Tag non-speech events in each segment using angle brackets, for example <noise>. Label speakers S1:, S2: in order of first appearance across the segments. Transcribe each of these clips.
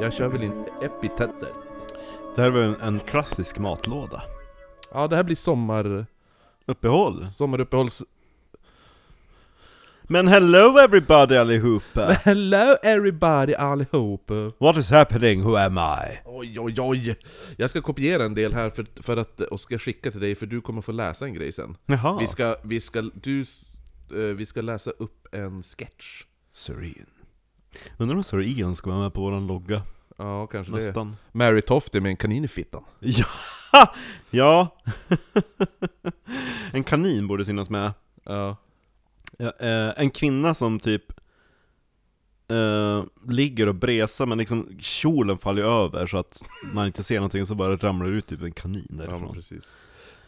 S1: Jag kör väl inte epitetter.
S2: Det här var en, en klassisk matlåda.
S1: Ja, det här blir sommar...
S2: Uppehåll.
S1: Sommaruppehålls...
S2: Men hello everybody allihopa!
S1: Hello everybody allihop!
S2: <laughs> What is happening? Who am I?
S1: Oj, oj, oj! Jag ska kopiera en del här för, för att, och ska skicka till dig, för du kommer få läsa en grej sen.
S2: Jaha.
S1: Vi ska, vi ska, du, s- eh, vi ska läsa upp en sketch.
S2: Serene. Undrar om Serene ska vara med på våran logga?
S1: Ja, kanske det.
S2: Nästan.
S1: Mary Tofte med en kanin i fittan.
S2: Ja! <laughs> ja! en kanin borde finnas med.
S1: Ja.
S2: Ja, eh, en kvinna som typ eh, ligger och bresar men liksom kjolen faller ju över så att man inte ser någonting så bara ramlar ut typ en kanin
S1: Ja men
S2: därifrån.
S1: precis.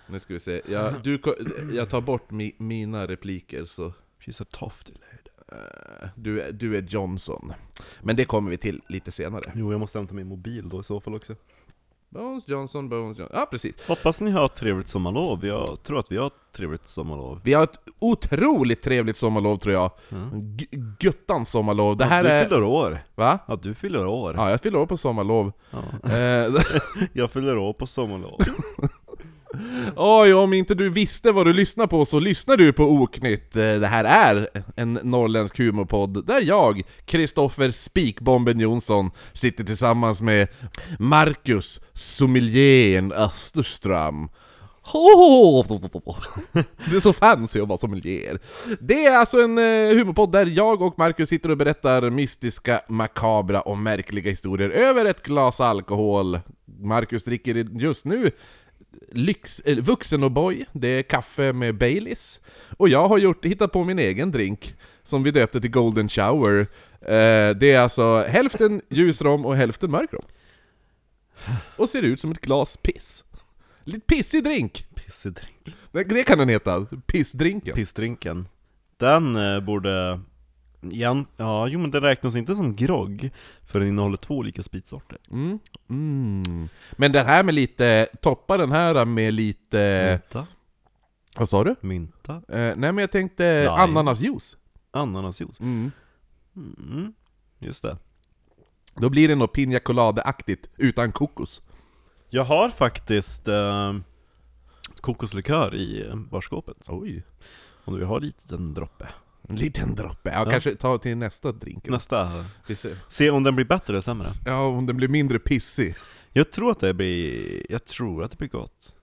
S1: Nu ska vi se, jag, du, ko- jag tar bort mi, mina repliker så...
S2: She's a tough delayed.
S1: eh, Du, är- du är Johnson. Men det kommer vi till lite senare.
S2: Jo, jag måste hämta min mobil då i så fall också.
S1: Bones Johnson, Bones Johnson. Ja precis.
S2: Hoppas ni har ett trevligt sommarlov. Jag tror att vi har ett trevligt sommarlov.
S1: Vi har ett otroligt trevligt sommarlov tror jag.
S2: Mm.
S1: G- göttans sommarlov. Det här
S2: att du
S1: är...
S2: fyller år!
S1: Va?
S2: Att du fyller år!
S1: Ja, jag fyller år på sommarlov.
S2: Ja.
S1: Eh, <laughs>
S2: Jag fyller år på sommarlov.
S1: Oj, om inte du visste vad du lyssnar på så lyssnar du på Oknytt. Eh, Det här är en norrländsk humorpodd där jag, Kristoffer Spikbomben Jonsson, sitter tillsammans med Marcus Sommelieren Österström. Det är så fancy att vara sommelier. Det är alltså en eh, humorpodd där jag och Marcus sitter och berättar mystiska, makabra och märkliga historier över ett glas alkohol. Marcus dricker just nu lyx, eh, vuxen och boy, det är kaffe med Baileys. Och jag har gjort, hittat på min egen drink, som vi döpte till Golden Shower. Eh, det är alltså hälften ljusrom och hälften mörkrom. Och ser ut som ett glas piss. Lite pissig drink!
S2: Pissedrink.
S1: Det- Det kan den heta, pissdrinken.
S2: Pissdrinken. Den eh, borde... Ja, ja, jo men den räknas inte som grogg, för den innehåller två olika spritsorter.
S1: Mm. Mm. Men den här med lite, toppa den här med lite,
S2: Mynta,
S1: Mm. vad sa du?
S2: mynta,
S1: Eh, nej men jag tänkte
S2: Lime.
S1: ananasjuice.
S2: ananasjuice. Mm, just det.
S1: Då blir det något pina colada-aktigt, utan kokos.
S2: Jag har faktiskt eh, kokoslikör i eh, barskåpet.
S1: Oj.
S2: Om du vill ha lite en droppe.
S1: En liten droppe. Ja,
S2: Ja.
S1: kanske ta till nästa drink. då.
S2: Nästa.
S1: Vi ser.
S2: Se om den blir bättre eller sämre.
S1: Ja, om den blir mindre pissig.
S2: Jag tror att det blir, jag tror att det blir gott.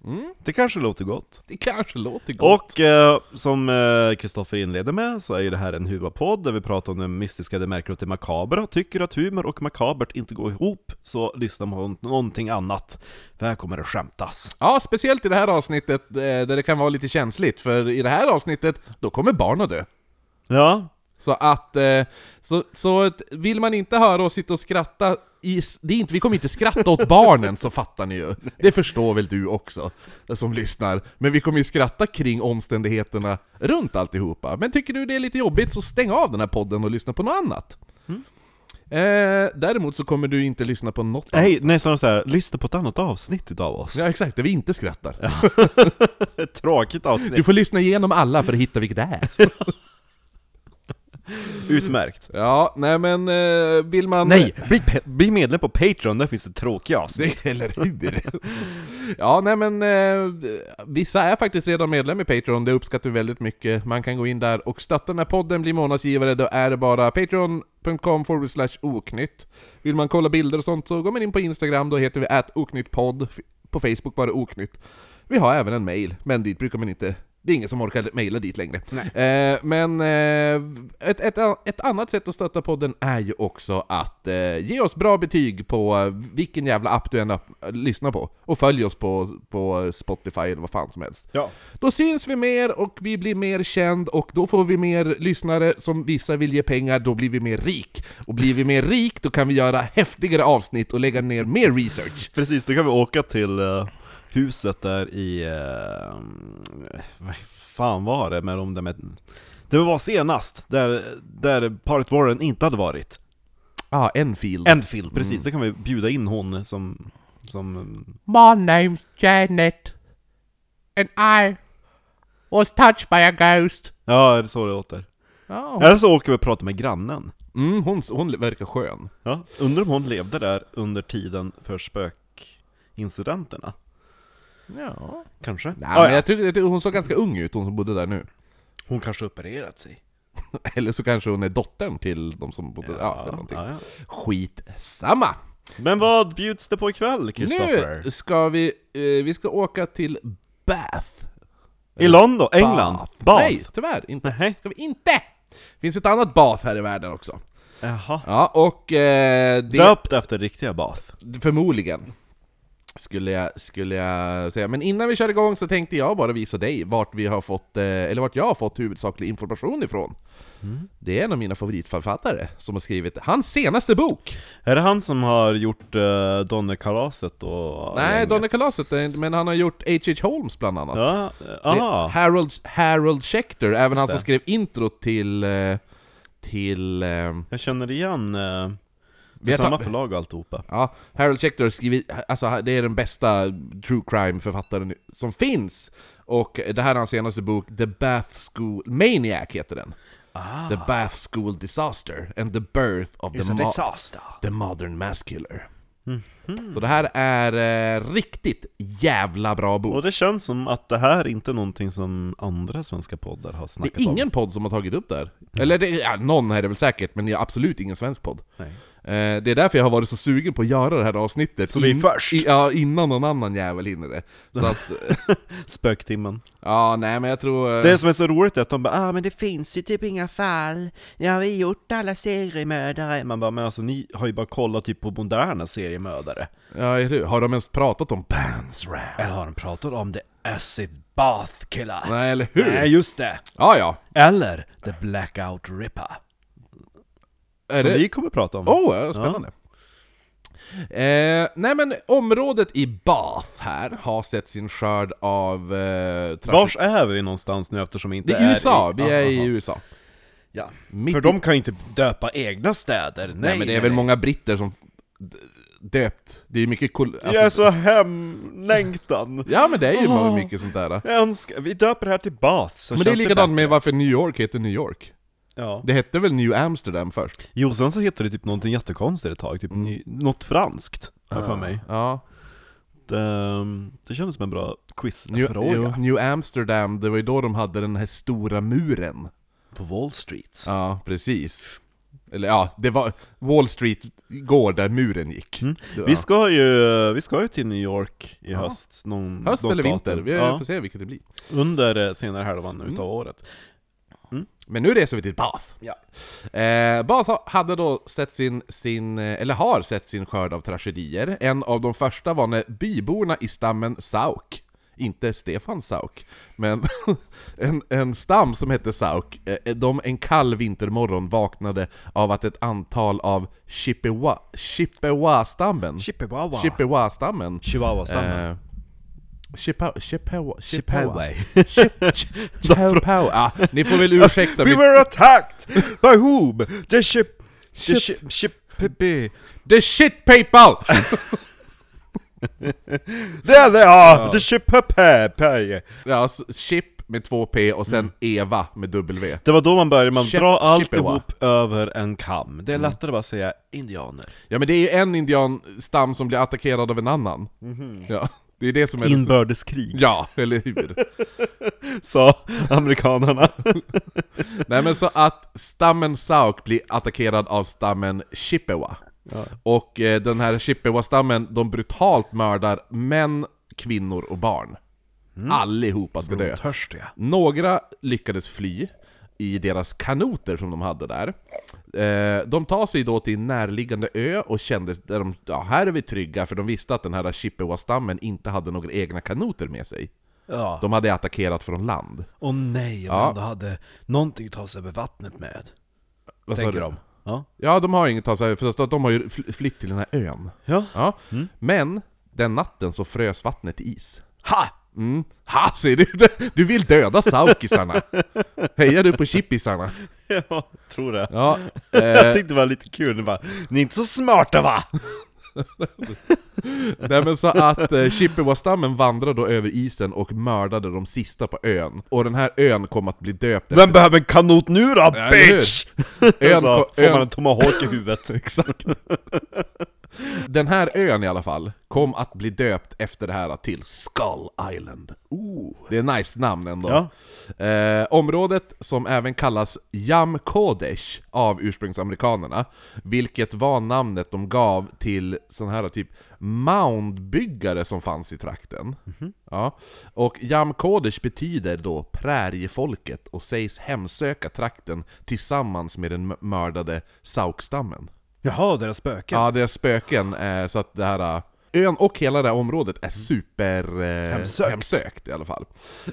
S2: Det kanske låter gott.
S1: Det kanske låter Mm. gott.
S2: Och eh, som eh, Kristoffer inledde med så är ju det här en humorpodd där vi pratar om det mystiska, det märkliga och det makabra. Tycker du att humor och makabert inte går ihop så lyssna på någonting annat. För här kommer det skämtas.
S1: Ja, speciellt i det här avsnittet eh, där det kan vara lite känsligt, för i det här avsnittet, då kommer barn att dö.
S2: Ja,
S1: Så att, eh, så, så att vill man inte höra oss sitta och skratta i, s- det är inte, vi kommer inte skratta åt barnen, så fattar ni ju. Det förstår väl du också, som lyssnar. Men vi kommer ju skratta kring omständigheterna runt alltihopa. Men tycker du det är lite jobbigt, så stäng av den här podden och lyssna på något annat.
S2: Mm.
S1: Eh, däremot så kommer du inte lyssna på något annat.
S2: nej, nej snarare såhär, lyssna på ett annat avsnitt utav oss.
S1: Ja, exakt, där vi inte skrattar.
S2: Ett tråkigt avsnitt.
S1: Du får lyssna igenom alla för att hitta vilket det
S2: <laughs>
S1: är.
S2: Utmärkt.
S1: Ja, nej men eh, vill man...
S2: Nej, bli, pe- bli medlem på Patreon, där finns det tråkiga avsnitt.
S1: Det, <laughs> eller hur? ja, nej men eh, vissa är faktiskt redan medlem i Patreon, det uppskattar vi väldigt mycket. Man kan gå in där och stötta den här podden, bli månadsgivare, då är det bara patreon.com forward slash oknytt. Vill man kolla bilder och sånt så går man in på Instagram, då heter vi at oknyttpodd. På Facebook bara oknytt. Vi har även en mail, men dit brukar man inte det är ingen som orkar mejla dit längre. Eh, men eh, ett, ett, ett annat sätt att stötta podden är ju också att eh, ge oss bra betyg på eh, vilken jävla app du än öpp- lyssnar på. Och följ oss på, på Spotify eller vad fan som helst.
S2: Ja.
S1: Då syns vi mer och vi blir mer känd och då får vi mer lyssnare som vissa vill ge pengar, då blir vi mer rik. Och blir vi mer rik, då kan vi göra häftigare avsnitt och lägga ner mer research.
S2: Precis, då kan vi åka till eh, huset där i... eh, vad fan var det med de där med... Det var senast, där, där paret Warren inte hade varit.
S1: Ah, Enfield.
S2: Enfield, precis.
S1: Mm.
S2: Då kan vi bjuda in hon som... som eh,
S3: My name's Janet, and I was touched by a ghost.
S2: ja, är det så det låter?
S1: Ja,
S2: Eller så åker vi och pratar med grannen.
S1: Mm, hon, hon verkar skön.
S2: Ja, undrar om hon levde där under tiden för spökincidenterna?
S1: Ja.
S2: Kanske?
S1: Nej,
S2: Ah,
S1: men
S2: ja.
S1: jag tycker, jag tycker hon såg ganska ung ut, hon som bodde där nu. <laughs>
S2: Hon kanske opererat sig?
S1: Eller så kanske hon är dottern till de som bodde där. Ja, eller någonting.
S2: ja, ja.
S1: Skitsamma!
S2: Men vad bjuds det på ikväll, Kristoffer?
S1: Nu ska vi, eh, vi ska åka till Bath.
S2: I London? England?
S1: Bath.
S2: Bath?
S1: Nej, tyvärr inte.
S2: Nej.
S1: Ska vi inte! Finns ett annat Bath här i världen också.
S2: Jaha.
S1: Ja, och eh, det...
S2: Döpt efter riktiga Bath.
S1: Förmodligen. Skulle jag, skulle jag säga. Men innan vi kör igång så tänkte jag bara visa dig vart vi har fått, eh, eller vart jag har fått huvudsaklig information ifrån.
S2: Mm.
S1: Det är en av mina favoritförfattare som har skrivit hans senaste bok!
S2: Är det han som har gjort uh, Donnekalaset och
S1: Nej,
S2: gänget?
S1: Donny Kalaset, eh, men han har gjort H.H. Holmes bland annat.
S2: Ja, eh,
S1: Det är
S2: aha.
S1: Harold, Harold Schechter, även han som
S2: det.
S1: skrev introt till... eh, Till... eh,
S2: Jag känner igen... eh, det
S1: Vi
S2: är
S1: har
S2: samma
S1: ta-
S2: förlag och alltihopa.
S1: Ja, Harold Schechter har skrivit, alltså det är den bästa true crime-författaren som finns! Och det här är hans senaste bok, The Bath School... Maniac heter den. The Bath School Disaster and the Birth of the, mo-
S2: disaster!
S1: the Modern Mass Killer. Så det här är eh, riktigt jävla bra bok.
S2: Och det känns som att det här inte är någonting som andra svenska poddar har snackat
S1: Det är ingen
S2: om.
S1: podd som har tagit upp det här. Mm. Eller det, ja, någon är det väl säkert, men jag är absolut ingen svensk podd.
S2: Nej.
S1: Eh, det är därför jag har varit så sugen på att göra det här avsnittet.
S2: Så vi är först.
S1: I, ja, innan någon annan jävel hinner det. <laughs> Så att, eh,
S2: Spöktimmen.
S1: ja, nej men jag tror... eh,
S2: Det som är så roligt är att de bara ah, men det finns ju typ
S4: inga fall. Nu har vi gjort alla seriemördare.
S2: Man bara, men alltså ni har ju bara kollat typ på moderna seriemördare.
S1: Ja, är det, har de ens pratat om Bans Ram?
S2: har de pratat om The Acid Bath Killer?
S1: Nej, eller hur?
S2: Nej, just det!
S1: Ja, ja.
S2: Eller The Blackout Ripper.
S1: Är
S2: som
S1: det...
S2: vi kommer prata om.
S1: Oh, ja, spännande. Eh, nej men området i Bath här har sett sin skörd av... Eh, trafik-
S2: Vars är vi någonstans nu eftersom vi
S1: Det
S2: inte
S1: är USA, vi är
S2: Aha.
S1: i USA.
S2: Ja.
S1: Mitt
S2: För
S1: i-
S2: de kan ju inte döpa egna städer. Nej,
S1: Nej, men det är väl många britter som d- döpt, det är ju mycket kol- alltså,
S2: Jag är så hemlängtan.
S1: <laughs> Ja men det är ju
S2: Åh.
S1: mycket sånt där.
S2: Jag önskar, vi döper det här till Bath, så
S1: Men det är
S2: känns
S1: likadant
S2: bättre.
S1: med varför New York heter New York.
S2: Ja.
S1: Det hette väl New Amsterdam först?
S2: Jo, sen så heter det typ någonting jättekonstigt ett tag, typ ny, något franskt, har jag för mig.
S1: Mm. Ja,
S2: Det, ehm, det kändes som en bra
S1: New, jo,
S2: quizfråga.
S1: New Amsterdam, det var ju då de hade den här stora muren.
S2: På Wall Street.
S1: Ja, precis. Eller ja, det var Wall Street går där muren gick. Det var-
S2: Vi ska ju, vi ska ju till New York i höst, någon,
S1: Höst
S2: något
S1: eller vinter,
S2: datum.
S1: vi
S2: ja,
S1: får se vilket det blir.
S2: Under eh, senare halvan
S1: Mm.
S2: utav året.
S1: Men nu reser vi till Bath.
S2: Ja.
S1: Eh, Bath ha- hade då sett sin, sin, eh, eller har sett sin skörd av tragedier. En av de första var när byborna i stammen Sauk, inte Stefan Sauk, men <laughs> en, en stam som hette Sauk, eh, de en kall vintermorgon vaknade av att ett antal av Chippewa- Chippewa-stammen
S2: Chippewa.
S1: Chippewa-stammen
S2: Chihuahua-stammen.
S1: Eh, Chippa- Chippewa... Chippewa...
S2: Chippewa. <laughs>
S1: Chippewa... Ah, ni får väl ursäkta
S2: We
S1: mitt
S2: were attacked! By whom? The ship... The ship... ship the
S1: The shit people!
S2: There they are! The ship... Pepe.
S1: ja, så chip med två P och sen Eva med W.
S2: Det var då man började, man
S1: Chip-
S2: drar allt
S1: Chippewa. Mm.
S2: ihop över en kam. Det är lättare bara att säga indianer.
S1: Ja men det är ju en indianstam som blir attackerad av en annan. Ja, det är det som är... det-
S2: <laughs> Inbördeskrig,
S1: Ja, eller hur?
S2: sa <laughs> amerikanarna.
S1: Nej men så att stammen Sauk blir attackerad av stammen Chippewa. Och eh, den här Chippewa-stammen, de brutalt mördar män, kvinnor och barn. Allihopa ska dö.
S2: Törstiga.
S1: Några lyckades fly i deras kanoter som de hade där. Eh, De tar sig då till en närliggande ö och kände att de, ja, här är vi trygga, för de visste att den här Chippewa-stammen inte hade några egna kanoter med sig.
S2: Ja.
S1: De hade attackerat från land.
S2: Och nej, om
S1: Ja.
S2: man ändå hade någonting att ta sig över vattnet med.
S1: Vad sa
S2: tänker
S1: du?
S2: de. Ja.
S1: Ja, de har inget att ta sig för att de har ju fly- flytt till den här ön.
S2: ja.
S1: Ja.
S2: Mm.
S1: Men, den natten så frös vattnet till is.
S2: Ha!
S1: Mm. Ha, säger du! Du vill döda
S2: <laughs>
S1: saukisarna! Hejar du på chippisarna?
S2: <laughs> Ja, tror det.
S1: Ja,
S2: Jag
S1: eh,
S2: tyckte det var lite kul, det bara, ni är inte så smarta va?
S1: <laughs> Nej men så att eh, Chippewa-stammen vandrade då över isen och mördade de sista på ön. Och den här ön kom att bli döpt efter...
S2: Vem behöver en kanot nu då,
S1: Ja, eller hur? <laughs>
S2: bitch?
S1: Ön
S2: så
S1: på
S2: får man
S1: ön,
S2: en tomahawk i
S1: <laughs>
S2: huvudet.
S1: Exakt. Den här ön i alla fall kom att bli döpt efter det här till Skull Island. Det är ett nice namn ändå.
S2: Ja.
S1: Eh, området som även kallas Yam Kodesh av ursprungsamerikanerna, vilket var namnet de gav till sån här typ moundbyggare som fanns i trakten. Ja. Och Yam Kodesh betyder då präriefolket och sägs hemsöka trakten tillsammans med den m- mördade Saukstammen.
S2: Jaha, deras spöken.
S1: Ja, det är spöken, eh, så att det här... eh, Ön och hela det här området är super... Eh,
S2: Mm. Hemsökt.
S1: hemsökt i alla fall.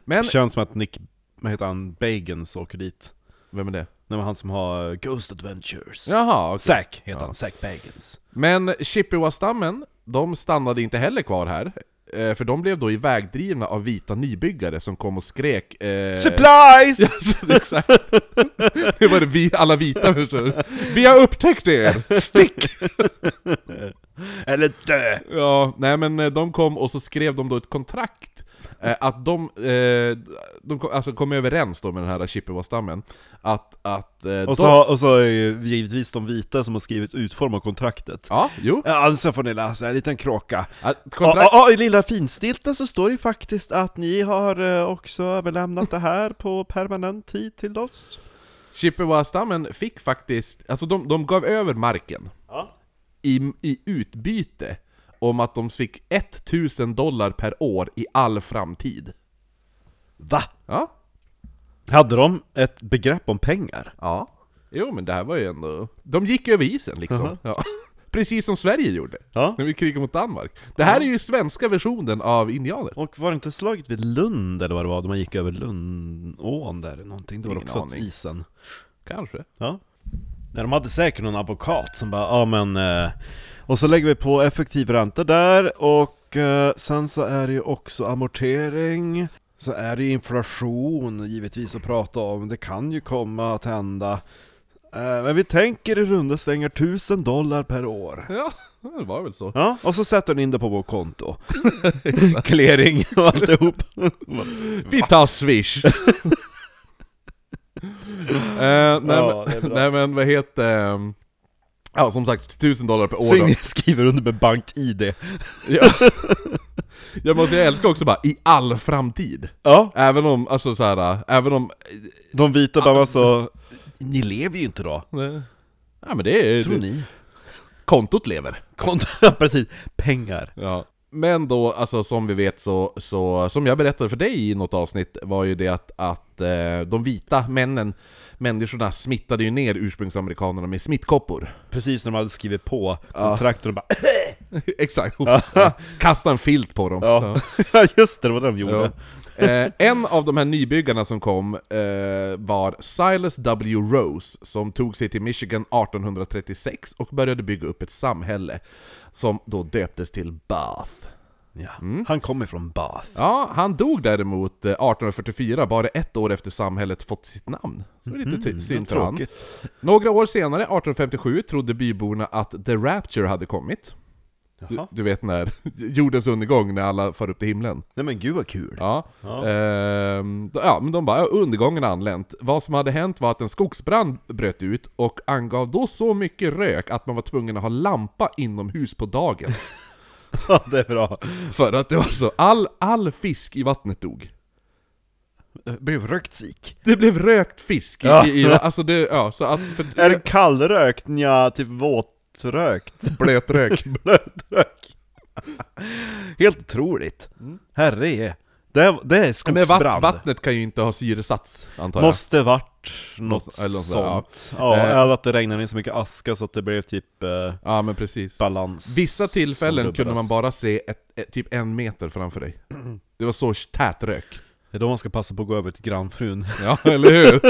S1: Men...
S2: Känns som att Nick, vad heter han, Bagans åker dit.
S1: Vem är det?
S2: Det var han som har eh, Ghost Adventures.
S1: Jaha, okej.
S2: Zack heter han, Zack Bagans.
S1: Men Chippewa-stammen, de stannade inte heller kvar här. eh, För de blev då ivägdrivna av vita nybyggare som kom och skrek... Eh,
S2: Supplies!
S1: <laughs> Exakt. Det var det vi, alla vita människor. Vi har upptäckt er! Stick!
S2: Eller dö!
S1: Ja, nej men eh, de kom och så skrev de då ett kontrakt eh, Att de, eh, de kom, alltså kom överens då med den här Chippewa-stammen Att, att eh,
S2: Och
S1: de,
S2: så, och så är ju givetvis de vita som har skrivit utforma kontraktet.
S1: Ja, jo
S2: Ja, alltså får ni läsa en liten kråka.
S1: att
S2: Ja,
S1: kontrakt,
S2: ja, ja, i lilla finstilta så står det ju faktiskt att ni har eh, också överlämnat det här på permanent tid till oss.
S1: Chippewa-stammen fick faktiskt, alltså de, de gav över marken i, I utbyte om att de fick 1000 dollar per år i all framtid
S2: Va?
S1: Ja,
S2: Hade de ett begrepp om pengar?
S1: ja Jo men det här var ju ändå, de gick över isen liksom
S2: Jaha.
S1: ja. <laughs> Precis som Sverige gjorde
S2: Ja.
S1: När vi krigade mot Danmark. Det här är ju svenska versionen av indianer.
S2: Och var det inte slaget vid Lund eller vad det var, då man gick över Lundån där eller någonting? Det var
S1: Ingen
S2: också
S1: aning.
S2: aning. isen.
S1: Kanske.
S2: Ja. Nej, de hade säkert någon advokat som bara, ja men... Eh, och så lägger vi på effektiv ränta där, och eh, sen så är det ju också amortering. Så är det ju inflation givetvis att prata om, det kan ju komma att hända. Eh, men vi tänker i runda slängar 1000 dollar per år.
S1: Ja, det var väl så.
S2: Ja, och så sätter hon in det på vårt <laughs> konto. Clearing och alltihop.
S1: Vi tar
S2: <laughs>
S1: Swish! Eh, nej,
S2: Ja, det är
S1: men,
S2: bra.
S1: nej men vad heter... ehm, Ja som sagt, 1000 dollar per år då.
S2: Signe skriver under med bank-id.
S1: Ja. Jag måste jag älskar också bara, i all framtid.
S2: Ja,
S1: Även om, alltså så här, äh, även om...
S2: de vita bara så... Ni lever ju inte då.
S1: eh, Ja men det är...
S2: Tror ni?
S1: Kontot lever.
S2: Konto, <laughs> ja, precis. Pengar.
S1: Ja. Men då, alltså som vi vet så, så som jag berättade för dig i något avsnitt var ju det att, att eh, de vita männen, människorna smittade ju ner ursprungsamerikanerna med smittkoppor.
S2: Precis när de hade skrivit på kontraktet och de bara
S1: <laughs> Exakt, hosta. <laughs> Kasta en filt på dem.
S2: ja. <laughs> ja, just det, det var det de gjorde.
S1: Ja. Eh, en av de här nybyggarna som kom eh, var Silas W. Rose, som tog sig till Michigan 1836 och började bygga upp ett samhälle, som då döptes till Bath.
S2: Ja.
S1: Mm.
S2: Han kommer från Bath.
S1: Ja, han dog däremot eh, 1844, bara ett år efter samhället fått sitt namn. Så det är lite ty- synd för han.
S2: Mhm, Tråkigt.
S1: Några år senare, 1857, trodde byborna att The Rapture hade kommit. Du,
S2: Jaha.
S1: du vet när <laughs> jordens undergång, när alla far upp till himlen.
S2: Nej men gud vad kul.
S1: Ja.
S2: Ja.
S1: Ehm, d- ja, men de bara, "Ja, undergången har anlänt. Vad som hade hänt var att en skogsbrand bröt ut och angav då så mycket rök att man var tvungen att ha lampa inomhus på dagen.
S2: <laughs> <laughs> Ja, det är bra.
S1: för att det var så, all, all fisk i vattnet dog.
S2: Det blev rökt sik.
S1: Det blev rökt fisk i,
S2: Ja.
S1: i, i alltså det, ja, så att... För,
S2: Är det kallrökt? Nja, typ våtrökt. <laughs>
S1: blötrök?
S2: Blötrök. Helt otroligt. Herre det, det är
S1: <laughs> Mm. Men vatt,
S2: skogsbrand.
S1: vattnet kan ju inte ha syresats, antar jag.
S2: Måste varit något
S1: Måste- eller något
S2: sånt.
S1: sånt,
S2: Ja,
S1: Eh.
S2: eller att det regnade in så mycket aska så att det blev typ eh,
S1: Ja, men precis.
S2: balans.
S1: Vissa tillfällen
S2: som
S1: kunde man
S2: rubbades.
S1: bara se ett, ett, typ en meter framför <clears throat> dig. Det var så tät rök.
S2: Det är då man ska passa på att gå över till grannfrun. <laughs>
S1: Ja, <laughs> eller hur?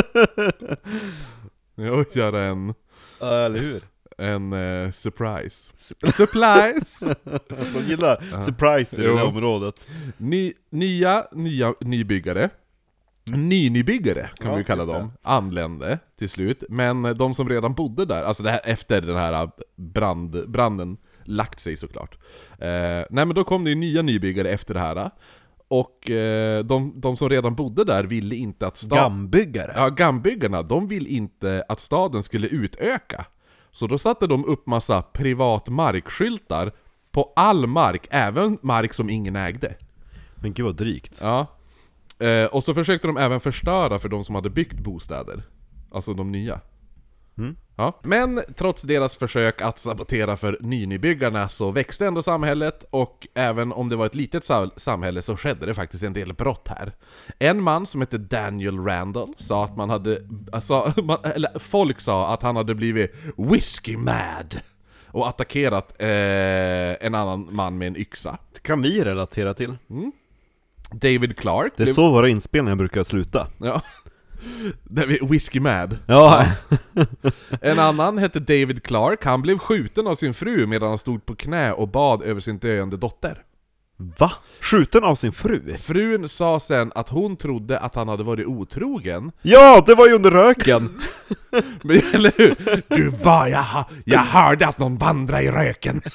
S1: Jag göra en,
S2: eller hur?
S1: en eh, surprise. Surprise!
S2: De
S1: <laughs>
S2: gillar surprise i det
S1: Jo.
S2: här området.
S1: Ny, nya, nya nybyggare. Nynybyggare kan
S2: Ja,
S1: vi kalla
S2: just det.
S1: dem, anlände till slut. Men de som redan bodde där, alltså det här, efter den här äh, brand, branden, lagt sig såklart. Eh, nej men då kom det ju nya nybyggare efter det här. Och eh, de, de som redan bodde där ville inte att staden...
S2: Dammbyggare.
S1: Ja, gammbyggare, de vill inte att staden skulle utöka. Så då satte de upp massa privat markskyltar på all mark, även mark som ingen ägde.
S2: Men gud vad drygt.
S1: Ja. Eh, och så försökte de även förstöra för de som hade byggt bostäder. Alltså de nya. Ja. Men trots deras försök att sabotera för nynybyggarna så växte ändå samhället och även om det var ett litet sa- samhälle så skedde det faktiskt en del brott här. En man som hette Daniel Randall sa att man hade... Alltså, <laughs> man, eller folk sa att han hade blivit whiskey mad och attackerat eh, en annan man med en yxa.
S2: Det kan vi relatera till.
S1: David Clark...
S2: Det är
S1: blev-
S2: så våra inspelningar brukar sluta.
S1: Ja. Där vi Whiskey Mad.
S2: Ja,
S1: En annan hette David Clark, han blev skjuten av sin fru medan han stod på knä och bad över sin döende dotter.
S2: va? Skjuten av sin fru?
S1: Frun sa sen att hon trodde att han hade varit otrogen,
S2: Ja, det var ju
S1: <laughs>
S2: under röken!
S1: men eller hur? Du var jag, ha- jag hörde att någon vandrade i röken!
S2: <laughs>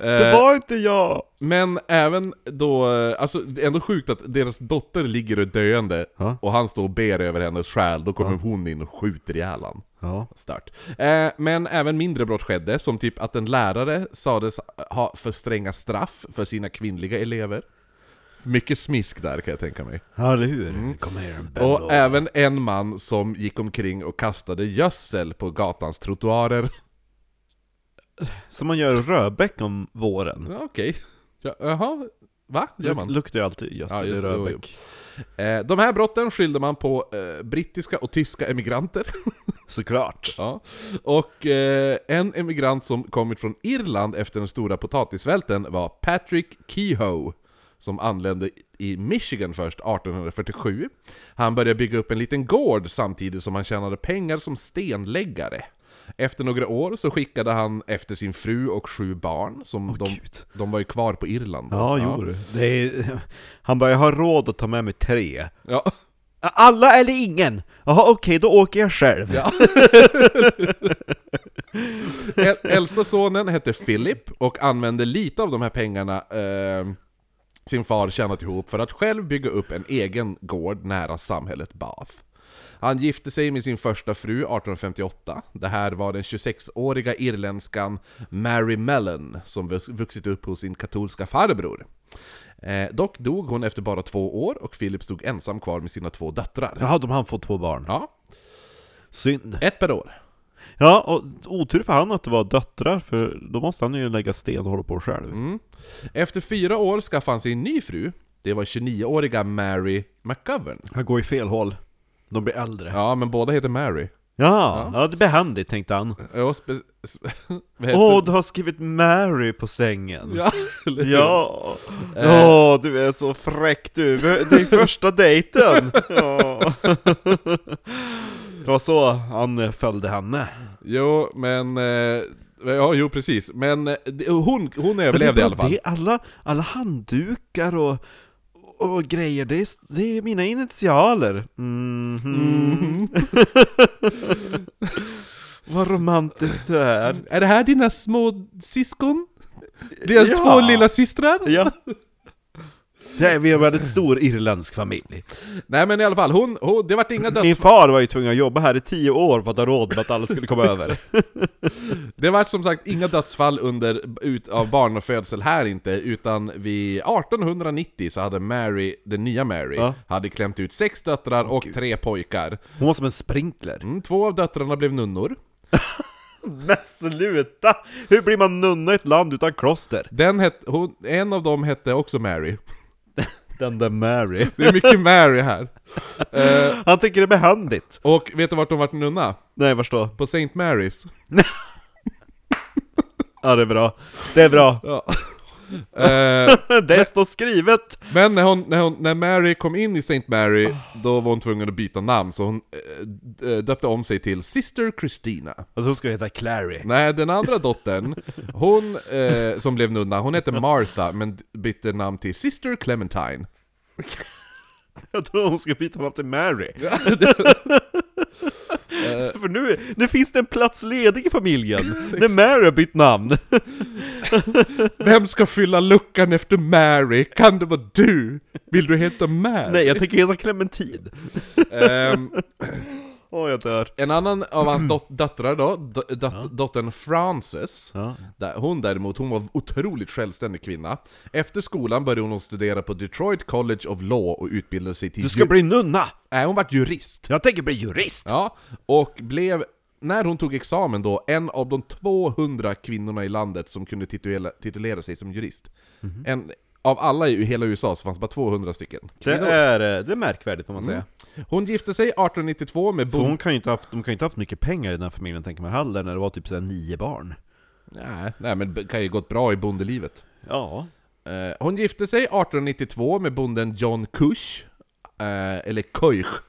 S1: Eh.
S2: Det var inte jag!
S1: Men även då, eh, alltså det är ändå sjukt att deras dotter ligger och döende
S2: Ja.
S1: och han står och ber över hennes själ, då kommer hon in och skjuter ihjäl han.
S2: Ja.
S1: Start. Eh, men även mindre brott skedde, som typ att en lärare sades ha för stränga straff för sina kvinnliga elever. Mycket smisk där kan jag tänka mig.
S2: Ja, eller hur? Kom här
S1: Mm. Och eh,
S2: Bello.
S1: även en man som gick omkring och kastade gödsel på gatans trottoarer.
S2: Som man gör i Röbäck om våren.
S1: Ja, Okej. Ja, Jaha? Va? Gör man?
S2: Luk- Luktar ju alltid
S1: Ja,
S2: gödsel i
S1: just det, jo,
S2: Röbäck.
S1: Eh, de här brotten skyllde man på eh, brittiska och tyska emigranter.
S2: Såklart.
S1: Ja. Och eh, en emigrant som kommit från Irland efter den stora potatissvälten var Patrick Kehoe, som anlände i Michigan först 1847. Han började bygga upp en liten gård samtidigt som han tjänade pengar som stenläggare. Efter några år så skickade han efter sin fru och sju barn, som de,
S2: gud.
S1: de var ju kvar på Irland. då.
S2: Ja, jo du. Det är... <laughs> Han bara, jag har råd att ta med mig tre.
S1: Ja.
S2: Alla eller ingen? Jaha, okej, då åker jag själv.
S1: Äl- Äldsta sonen hette Philip och använde lite av de här pengarna eh, sin far tjänat ihop för att själv bygga upp en egen gård nära samhället Bath. Han gifte sig med sin första fru 1858. Det här var den 26-åriga irländskan Mary Mellon som vux- vuxit upp hos sin katolska farbror. Eh, dock dog hon efter bara två år och Philip stod ensam kvar med sina två döttrar.
S2: Jaha, de hann få två barn.
S1: Ja,
S2: Synd.
S1: ett per år.
S2: Ja, och otur för han att det var döttrar, för då måste han ju lägga sten och hålla på själv.
S1: Efter fyra år skaffade han sig en ny fru. Det var 29-åriga Mary McGovern.
S2: Han går i fel håll. De blir äldre. Ja,
S1: Ja, men båda heter Mary.
S2: ja. det är behändigt tänkte han.
S1: Ja, spe- spe- <laughs> vad heter-
S2: Åh, du har skrivit Mary på sängen.
S1: Ja, eller
S2: <laughs>
S1: hur?
S2: Ja!
S1: Eh.
S2: Åh, du är så fräck du! Det är
S1: <laughs>
S2: första dejten! Ja. Det var så han eh, följde henne.
S1: Jo, men... eh, Ja, jo precis. Men eh, det- hon, hon överlevde i alla fall.
S2: Det, alla, alla handdukar och, och grejer, det är, det är mina initialer. Mhm.
S1: <laughs>
S2: Vad romantiskt du är.
S1: Är det här dina små syskon? Deras
S2: Ja.
S1: två lilla systrar?
S2: Ja. Nej, vi är en väldigt stor irländsk familj.
S1: Nej men i alla fall, hon, hon, det vart inga
S2: Min
S1: döds...
S2: far var ju tvungen att jobba här i tio år för att ha råd med att alla skulle komma över.
S1: Det vart som sagt inga dödsfall under, ut, av barnafödsel här inte, utan vid 1890 så hade Mary, den nya Mary,
S2: Ja.
S1: hade klämt ut sex döttrar och tre pojkar.
S2: Hon var som en sprinkler.
S1: Mm, två av döttrarna blev nunnor.
S2: Men sluta! Hur blir man nunna i ett land utan kloster?
S1: Den het, hon, en av dem hette också Mary.
S2: Den där Mary.
S1: Det är mycket Mary här. Eh,
S2: Han tycker det är behändigt.
S1: och vet du vart de vart nunna?
S2: Nej, förstå.
S1: På St. Mary's.
S2: Ja, det är bra. Det är bra.
S1: Ja. Eh,
S2: Det står skrivet!
S1: men när, hon, när, hon, när Mary kom in i St. Mary, då var hon tvungen att byta namn, så hon eh, d- döpte om sig till Sister Christina.
S2: Alltså hon ska heta Clary.
S1: Nej, den andra dottern, hon eh, som blev nunna, hon hette Martha, men bytte namn till Sister Clementine.
S2: Jag tror hon ska byta namn till Mary.
S1: Eh,
S2: För nu, nu finns det en plats ledig i familjen, när Mary har bytt namn!
S1: Vem ska fylla luckan efter Mary? Kan det vara du? Vill du heta Mary?
S2: Nej, jag tänker heta Clementine.
S1: Ehm,
S2: Åh, jag dör.
S1: en annan av hans dot- döttrar då, dot- dot- dottern Frances,
S2: Mm. Ja.
S1: där- hon däremot, hon var en otroligt självständig kvinna. Efter skolan började hon studera på Detroit College of Law och utbildade sig till
S2: Du ska
S1: ju-
S2: bli nunna!
S1: Nej, hon vart jurist.
S2: Jag tänker bli jurist!
S1: Ja, och blev, när hon tog examen då, en av de 200 kvinnorna i landet som kunde titulera, titulera sig som jurist. En, av alla i hela USA så fanns bara 200 stycken.
S2: Det
S1: kvinnor.
S2: är, eh, det är märkvärdigt får man säga.
S1: Hon gifte sig 1892 med
S2: För hon
S1: Bond...
S2: kan ju inte haft, de kan ju inte haft mycket pengar i den här familjen tänker man heller, när det var typ såhär nio barn.
S1: Nej, nej, men det kan ju gått bra i bondelivet.
S2: Ja.
S1: Eh, hon gifte sig 1892 med bonden John Cush, eh, eller E Kusch.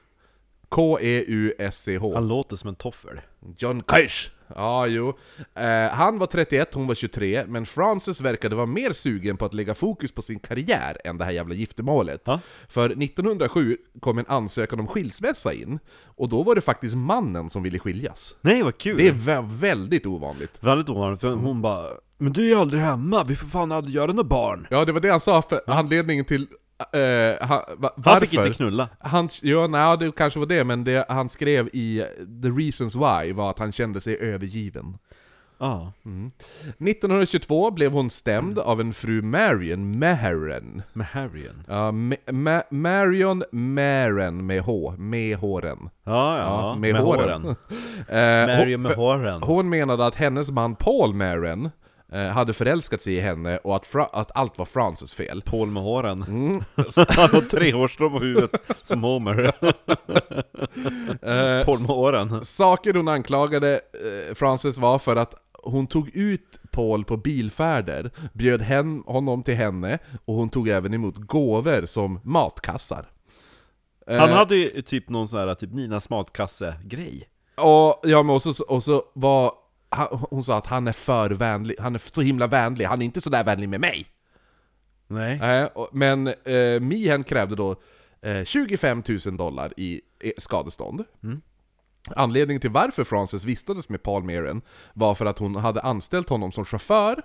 S1: K-E-U-S-C-H.
S2: Han låter som en toffel.
S1: John Cush! Ja, jo. Eh, han var 31, hon var 23, men Frances verkade vara mer sugen på att lägga fokus på sin karriär än det här jävla giftermålet.
S2: Ja.
S1: För 1907 kom en ansökan om skilsmässa in, och då var det faktiskt mannen som ville skiljas.
S2: Nej vad kul!
S1: Det är vä- väldigt ovanligt.
S2: Väldigt ovanligt, för hon bara Men du är ju aldrig hemma, vi får fan aldrig göra några barn!
S1: Ja, det var det han sa, för anledningen till eh, han, va, varför.
S2: Han fick inte knulla.
S1: Han, ja, nej, det kanske var det, men det han skrev i The Reasons Why var att han kände sig övergiven.
S2: Ja.
S1: 1922 blev hon stämd av en fru Marion Maheren.
S2: Med Harryen.
S1: Ja, Ma- Ma- Marion Maheren med H, med håren.
S2: Ja, ja.
S1: Ja,
S2: med, håren.
S1: Eh,
S2: Mary
S1: hon-
S2: med
S1: för-
S2: håren.
S1: Hon menade att hennes man Paul Maheren eh, hade förälskat sig i henne och att, Fra- att allt var Frances
S2: <laughs>
S1: fel.
S2: Paul med håren. Han har tre hårstrån på huvudet, som <laughs> Homer.
S1: Eh,
S2: Paul med håren.
S1: Saker hon anklagade eh, Frances var för att hon tog ut Paul på bilfärder, bjöd hem honom till henne, och hon tog även emot gåvor som matkassar. Eh,
S2: Han hade ju typ någon sån här, typ Ninas matkasse-grej.
S1: och, ja, men och, så, och så var... han- Hon sa att han är för vänlig, han är så himla vänlig, han är inte sådär vänlig med mig!
S2: Nej.
S1: Nej, och- men eh, Mihen krävde då eh, 25 000 dollar i i skadestånd.
S2: Mm.
S1: Anledningen till varför Frances vistades med Paul Meren var för att hon hade anställt honom som chaufför,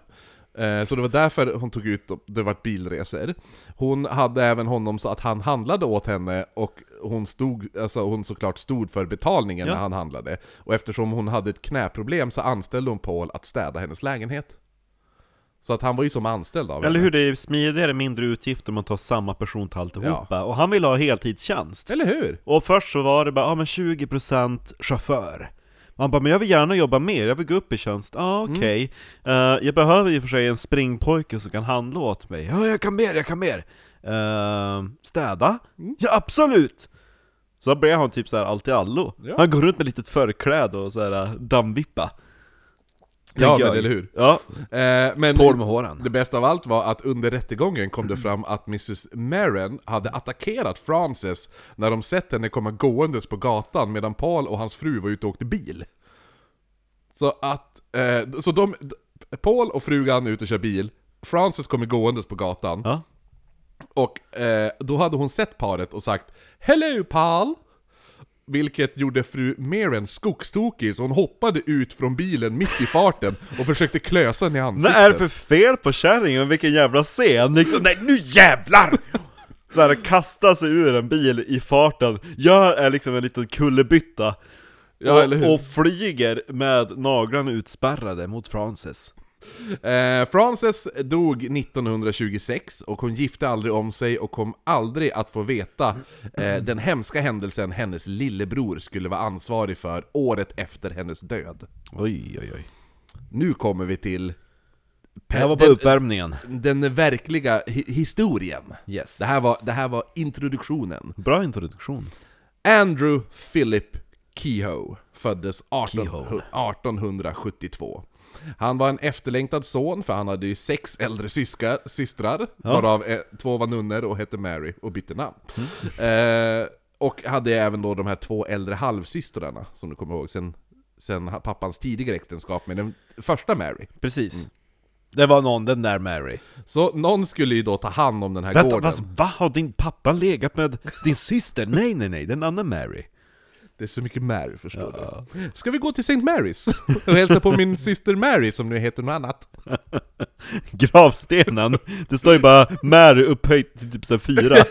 S1: eh, så det var därför hon tog ut, det vart bilresor. Hon hade även honom så att han handlade åt henne, och hon, stod, alltså hon såklart stod för betalningen
S2: Ja.
S1: när han handlade. Och eftersom hon hade ett knäproblem så anställde hon Paul att städa hennes lägenhet. Så att han var ju som anställd av henne.
S2: Eller hur, det är smidigare, mindre utgifter om man tar samma person till alltihopa. Och han ville ha heltidstjänst.
S1: Eller hur?
S2: Och först så var det bara, ja ah, men 20% chaufför. Man bara, men jag vill gärna jobba mer, jag vill gå upp i tjänst. Ja,
S1: Mm.
S2: ah, okej. Eh, jag behöver i och för sig en springpojke som kan handla åt mig. Ja, jag kan mer, jag kan mer. Eh, städa?
S1: Mm.
S2: Ja, absolut! Så blev han typ så här allt i allo.
S1: Ja.
S2: Han går runt med litet förkläde och så här eh, dammvippa.
S1: Ja,
S2: Tänker
S1: men
S2: jag.
S1: eller hur?
S2: Ja,
S1: Eh, men
S2: Paul med håren.
S1: det bästa av allt var att under rättegången kom det fram att Mrs. Maren hade attackerat Frances när de sett henne komma gåendes på gatan medan Paul och hans fru var ute och åkte bil. Så att, eh, så de, Paul och frugan är ute och kör bil, Frances kommer gåendes på gatan,
S2: Ja.
S1: och eh, då hade hon sett paret och sagt ”Hello Paul!” Vilket gjorde fru Maren skogstokig, så hon hoppade ut från bilen mitt i farten och försökte klösa henne i
S2: Vad
S1: ansiktet.
S2: är det för fel på kärringen? Vilken jävla scen! Liksom, nej nu jävlar! Så här, kasta sig ur en bil i farten, gör är liksom en liten kullerbytta
S1: Ja, eller hur?
S2: och, och flyger med naglarna utspärrade mot Frances.
S1: Eh, Frances dog 1926 och hon gifte aldrig om sig och kom aldrig att få veta eh, den hemska händelsen hennes lillebror skulle vara ansvarig för året efter hennes död.
S2: Oj, oj, oj.
S1: Nu kommer vi till
S2: Det här var bara uppvärmningen.
S1: den verkliga hi- historien.
S2: Yes.
S1: Det här, var, det här var introduktionen.
S2: Bra introduktion.
S1: Andrew Philip Kehoe föddes 18,
S2: Kehoe.
S1: 1872. Han var en efterlängtad son, för han hade ju sex äldre syskar, systrar, varav eh, två var nunnor och hette Mary och bytte namn.
S2: Mm.
S1: Eh, och hade även då de här två äldre halvsystrarna, som du kommer ihåg, sen, sen ha- pappans tidigare äktenskap med den första Mary.
S2: Precis. Det var någon, den där Mary.
S1: Så någon skulle ju då ta hand om den här
S2: Vänta,
S1: gården.
S2: vad, va? Har din pappa legat med din syster? Nej, nej, nej, den andra Mary.
S1: Det är så mycket Mary, förstår
S2: Ja.
S1: du. Ska vi gå till St. Marys? <laughs> Och hälsa på min syster Mary, som nu heter något annat.
S2: Gravstenen! Det står ju bara Mary upphöjt till typ så här fyra. <laughs>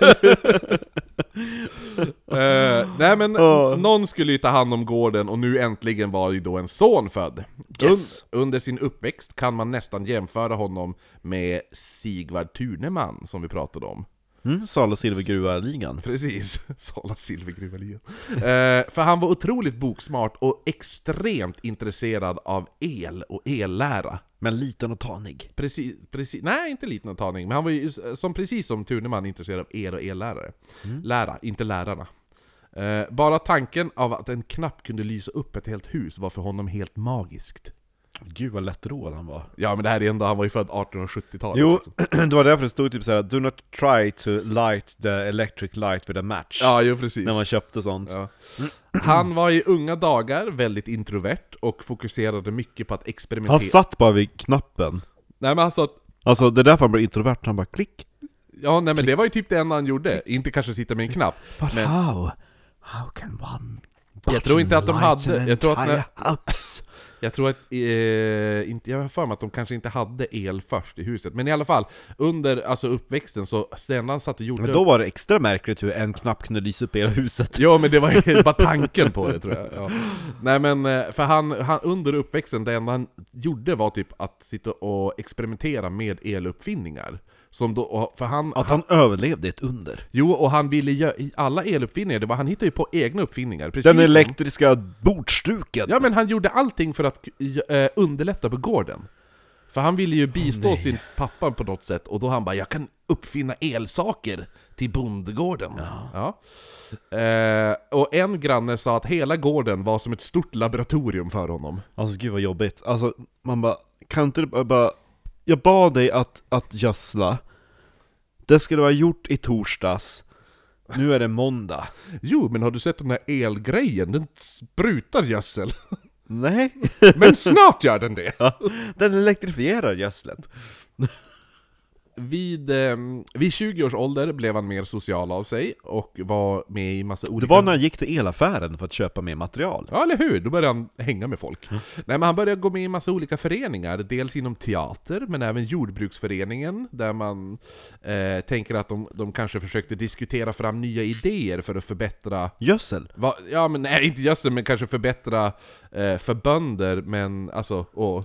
S1: Eh, nej men,
S2: Ja.
S1: någon skulle ju ta hand om gården och nu äntligen var ju då en son född.
S2: Yes.
S1: Un- under sin uppväxt kan man nästan jämföra honom med Sigvard Thuneman, som vi pratade om. <laughs>
S2: Mm, Sala silvergruva-ligan.
S1: Precis, Sala silvergruvalien. eh, för han var otroligt boksmart och extremt intresserad av el och ellära.
S2: Men liten och tanig.
S1: Precis, precis, nej, inte liten antagning, men han var ju s- som, precis som Thuneman intresserad av el och ellärare.
S2: Mm.
S1: Lära, inte lärarna. Eh, bara tanken av att en knapp kunde lysa upp ett helt hus var för honom helt magiskt.
S2: Gud vad lättråd han var.
S1: Ja men det här är ändå, han var ju född 1870-talet.
S2: Jo, <clears throat>
S1: liksom.
S2: det var därför det stod typ såhär 'Do not try to light the electric light with a match'
S1: Ja, jo precis.
S2: När man köpte sånt.
S1: Ja. Han var i unga dagar väldigt introvert och fokuserade mycket på att experimentera.
S2: Han satt bara vid knappen.
S1: Nej men alltså att
S2: Alltså det är därför han blev introvert, han bara klick.
S1: Ja, nej men det var ju typ det enda han gjorde. Inte kanske sitta med en knapp.
S2: But
S1: Men-
S2: how? How can one
S1: Jag tror inte att de
S2: light
S1: hade-
S2: an
S1: jag tror att
S2: entire house?
S1: Jag tror att, eh, inte, jag har för mig att de kanske inte hade el först i huset. Men i alla fall, under alltså uppväxten så, det enda han satt och gjorde...
S2: Men då var det extra märkligt hur en knapp kunde lysa upp hela huset.
S1: Ja men det var ju bara tanken på det tror jag. Ja. Nej men, eh, för han, han under uppväxten, det enda han gjorde var typ att sitta och experimentera med eluppfinningar. Som då, och- för han,
S2: Att han överlevde ett under.
S1: jo och han ville göra, alla eluppfinningar, det var, han hittade ju på egna uppfinningar. Precis
S2: Den
S1: som-
S2: elektriska bordsduken!
S1: Ja men han gjorde allting för att eh, underlätta på gården. För han ville ju bistå sin pappa på något sätt, och då han bara 'Jag kan uppfinna elsaker till bondgården' ja. Eh, Och en granne sa att hela gården var som ett stort laboratorium för honom.
S2: Alltså gud vad jobbigt. Alltså man bara, kan inte du bara- bara... Jag bad dig att, att gödsla. Det skulle vara gjort i torsdags. Nu är det måndag.
S1: Jo, men har du sett den där elgrejen? Den sprutar
S2: <laughs>
S1: gödsel.
S2: Nej, <laughs>
S1: Men snart gör den det!
S2: den elektrifierar gödslet.
S1: Vid, eh, vid 20 års ålder blev han mer social av sig och var med i massa olika...
S2: Det var när jag gick till elaffären för att köpa mer material.
S1: Ja, eller hur? Då började han hänga med folk. Nej, men han började gå med i massa olika föreningar, dels inom teater, men även jordbruksföreningen, där man eh, tänker att de, de kanske försökte diskutera fram nya idéer för att förbättra
S2: Gödsel?
S1: Va, ja men nej, inte gödsel, men kanske förbättra eh, för bönder, men alltså, och,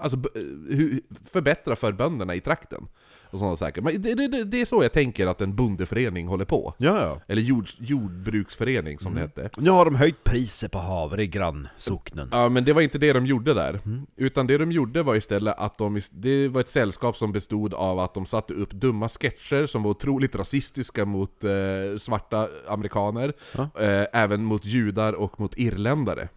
S1: alltså b- eh, hur, förbättra för bönderna i trakten. Och sådana saker. Men det, det, det- det är så jag tänker att en bondeförening håller på.
S2: Ja, ja.
S1: Eller jord, jordbruksförening som det hette.
S2: Nu har de höjt priset på havre i grannsocknen.
S1: Ja, men det var inte det de gjorde där. Utan det de gjorde var istället att de, det var ett sällskap som bestod av att de satte upp dumma sketcher som var otroligt rasistiska mot eh, svarta amerikaner, eh, även mot judar och mot irländare.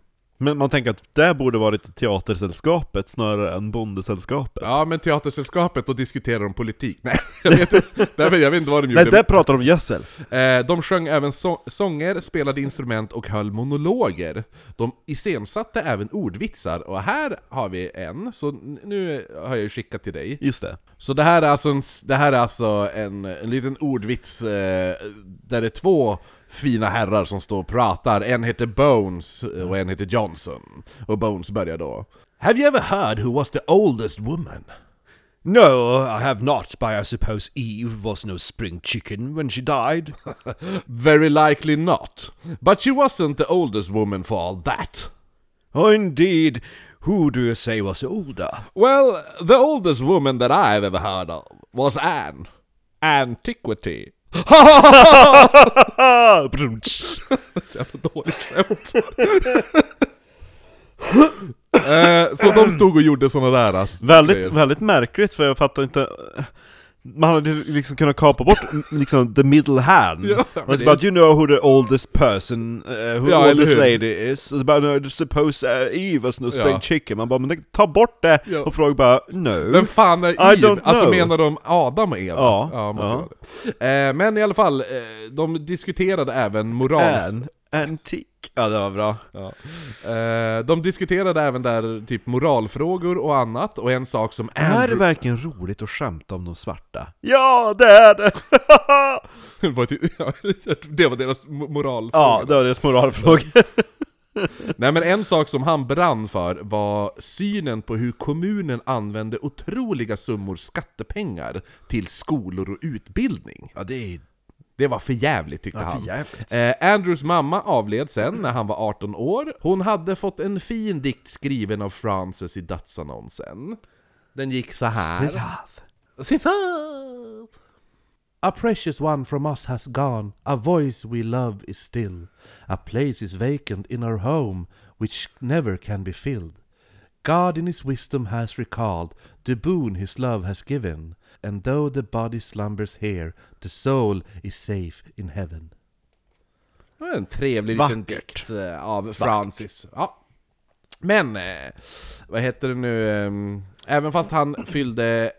S2: Men man tänker att det borde varit teatersällskapet snarare än bondesällskapet.
S1: Ja, men Teatersällskapet, då diskuterade de politik. Nej, <laughs> jag vet inte, nej, men jag vet inte vad de
S2: Nej,
S1: gjorde.
S2: där pratar de om gödsel.
S1: Eh, De sjöng även så- sånger, spelade instrument och höll monologer. De iscensatte även ordvitsar, och här har vi en, så n- nu har jag ju skickat till dig.
S2: Just det.
S1: Så det här är alltså en, s- det här är alltså en, en liten ordvits eh, där det är två fina herrar som står och pratar. En heter Bones eh, och en heter Johnson. Och Bones börjar då. Have you ever heard who was the oldest woman?
S2: No, I have not, but I suppose Eve was no spring chicken when she <laughs> died.
S1: Very likely not. But she wasn't the oldest woman for all that.
S2: oh, indeed. Who do you say was older?
S1: Well, the oldest woman that I've ever heard of was Anne. Antiquity. Så jävla dåligt skämt. <laughs> eh, så de stod och gjorde såna där alltså.
S2: <laughs> väldigt,
S1: Grejer.
S2: väldigt märkligt, för jag fattar inte... Man hade liksom kunnat kapa bort liksom the middle hand.
S1: Ja,
S2: och
S1: men
S2: så
S1: det-
S2: bara, do you know who the oldest person, uh, who
S1: Ja,
S2: the
S1: eller
S2: oldest
S1: hur?
S2: lady is? Och så bara, no, I suppose uh, Eve was no spring
S1: Ja.
S2: chicken. Man bara, men ta bort det!
S1: Ja.
S2: Och fråga bara, no.
S1: Vem fan är
S2: I don't
S1: Eve? Alltså
S2: know.
S1: menar de Adam och Eva?
S2: Ja,
S1: måste
S2: ja. Äh.
S1: vara det. Eh, men i alla fall, eh, de diskuterade även moral...
S2: Anne, antique. Ja, det var bra.
S1: Eh, de diskuterade även där typ moralfrågor och annat, och en sak som
S2: Är det
S1: Andrew...
S2: verkligen roligt att skämta om de svarta? Ja, det är det!
S1: <laughs>
S2: <laughs>
S1: Det var, typ, ja, <laughs> det var deras mo- moralfråga.
S2: ja, det var deras moralfråga.
S1: Nej men en sak som han brann för var synen på hur kommunen använde otroliga summor skattepengar till skolor och utbildning.
S2: Ja, det är
S1: Det var för jävligt tyckte han.
S2: jävligt.
S1: Eh, Andrews mamma avled sen när han var 18 år. Hon hade fått en fin dikt skriven av Frances i dödsannonsen. Den gick så här. Citat! A precious one from us has gone, a voice we love is still. A place is vacant in our home, which never can be filled. God in his wisdom has recalled the boon his love has given. And though the body slumbers here, the soul is safe in heaven. Det var en trevlig liten
S2: Vackert.
S1: dikt eh, av Francis. Ja. Men, eh, vad heter det nu? ehm, Även fast han fyllde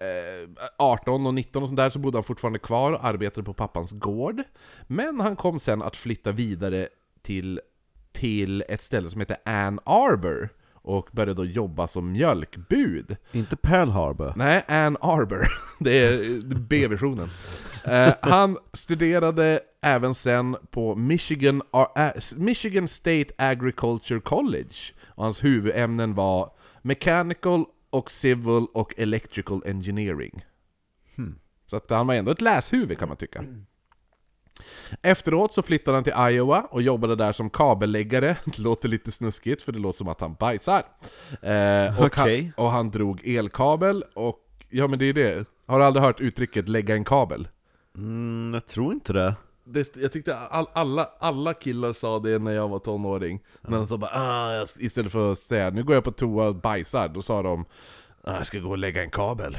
S1: eh, 18 och 19 och sånt där så bodde han fortfarande kvar och arbetade på pappans gård. Men han kom sen att flytta vidare till, till ett ställe som heter Ann Arbor och började då jobba som mjölkbud.
S2: Inte Pearl Harbor.
S1: Nej, Ann Arbor. <laughs> Det är B-versionen. Eh, han studerade även sen på Michigan, Ar- Ä- Michigan State Agriculture College. Och hans huvudämnen var Mechanical och Civil och Electrical Engineering. Så att han var ändå ett läshuvud kan man tycka. Efteråt så flyttade han till Iowa och jobbade där som kabelläggare. <laughs> Det låter lite snuskigt för det låter som att han bajsar. Eh, och,
S2: Okej.
S1: han, och han drog elkabel och... Ja men det är det. Har du aldrig hört uttrycket 'lägga en kabel'?
S2: Mm, jag tror inte det.
S1: Det, jag tyckte all, alla, alla killar sa det när jag var tonåring. När de sa bara ah, jag- istället för att säga 'nu går jag på toa och bajsar' då sa de ah, 'jag ska gå och lägga en kabel'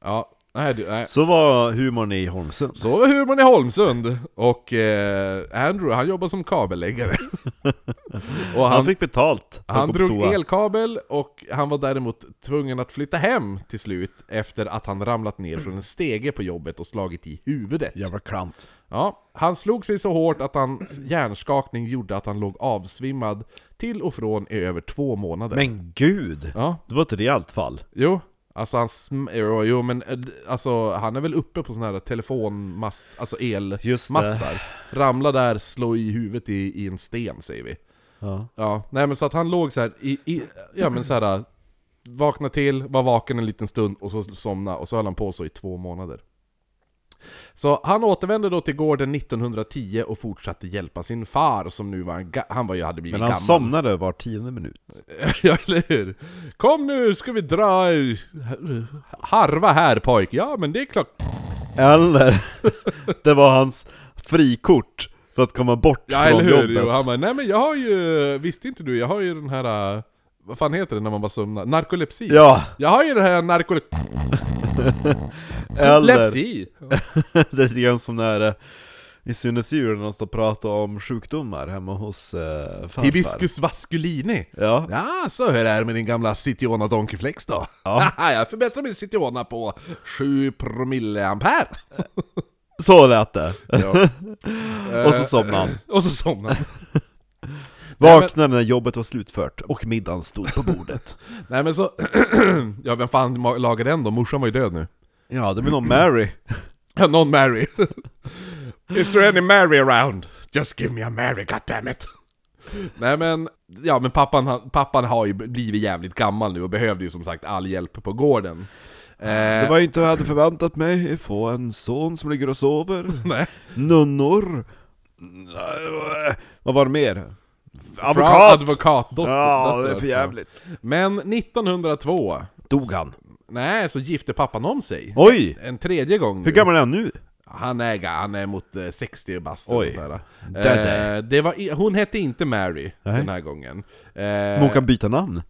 S1: Ja, nej, du, nej.
S2: Så var humorn i Holmsund.
S1: Så var humorn i Holmsund, och eh, Andrew han jobbar som
S2: <laughs>
S1: kabelläggare. och
S2: Han
S1: han,
S2: fick betalt för att
S1: han
S2: gå på
S1: drog
S2: toa.
S1: elkabel, och han var däremot tvungen att flytta hem till slut efter att han ramlat ner från en stege på jobbet och slagit i huvudet.
S2: Jävla klant.
S1: Ja, han slog sig så hårt att hans hjärnskakning gjorde att han låg avsvimmad till och från i över två månader.
S2: Men gud!
S1: Ja,
S2: Det var ett rejält fall.
S1: jo. Alltså han sm- jo, jo, men eh, d- alltså, han är väl uppe på sådana här telefonmast, alltså
S2: Just det.
S1: elmastar. Ramla där, slå i huvudet i, i en sten säger vi.
S2: Ja.
S1: Ja, nej men så att han låg så här i, i ja men så här äh, vakna till, var vaken en liten stund och så somna och så höll han på så i två månader. Så han återvände då till gården 1910 och fortsatte hjälpa sin far som nu var, en ga- han var ju, hade blivit
S2: Men han
S1: gammal.
S2: somnade var tionde minut.
S1: <laughs> Ja, eller hur? Kom nu ska vi dra eh, harva här pojk. Ja, men det är klart.
S2: Eller, <laughs> det var hans frikort för att komma bort
S1: Ja,
S2: från
S1: eller hur?
S2: jobbet.
S1: Jo, han bara, nej men jag har ju, visste inte du, jag har ju den här, eh, vad fan heter det när man bara somnar? Narkolepsi.
S2: Ja,
S1: Jag har ju den här narkolepsi.
S2: eller
S1: Lepsi.
S2: <laughs> det är lite grann som när eh, i Synnes djur när de står och pratar om sjukdomar hemma hos eh, farfar.
S1: Hibiscus vasculini.
S2: Ja.
S1: Ja, så hur är det med din gamla Citiona Donkeyflex då?
S2: Ja.
S1: <laughs> Haha, jag förbättrar min Citiona på 7 promille ampere.
S2: <laughs> Så lät det.
S1: <laughs> Eh,
S2: Och så somnade han.
S1: Och så somnade han.
S2: Vaknade när jobbet var slutfört och middagen stod på bordet.
S1: Nej men så, <clears throat> ja vem fan ma- lagade den då? Morsan var ju död nu.
S2: <laughs>
S1: <laughs>
S2: Ja, det blir nog Mary.
S1: Ja, någon Mary. <laughs> Is there any Mary around? Just give me a Mary, goddammit. <laughs> Nej men, ja men pappan, han- pappan har ju blivit jävligt gammal nu och behövde ju som sagt all hjälp på gården.
S2: Det
S1: Eh,
S2: var ju inte vad jag hade förväntat mig, få en son som ligger och sover.
S1: <laughs> nej.
S2: Nunnor. Nej, Vad var det mer?
S1: Fra-
S2: Advokat!
S1: Advokatdotter.
S2: Ja,
S1: dotter,
S2: det är för
S1: ja.
S2: jävligt.
S1: Men 1902,
S2: Dog han?
S1: nej, så gifte pappan om sig.
S2: Oj!
S1: En tredje gång nu.
S2: Hur gammal är han nu?
S1: Han är, ga- han är mot eh, 60 bast
S2: Oj.
S1: eller nåt där.
S2: Där, där.
S1: Eh, det var, i- Hon hette inte Mary
S2: Nej.
S1: den här gången. Eh,
S2: Hon kan byta namn.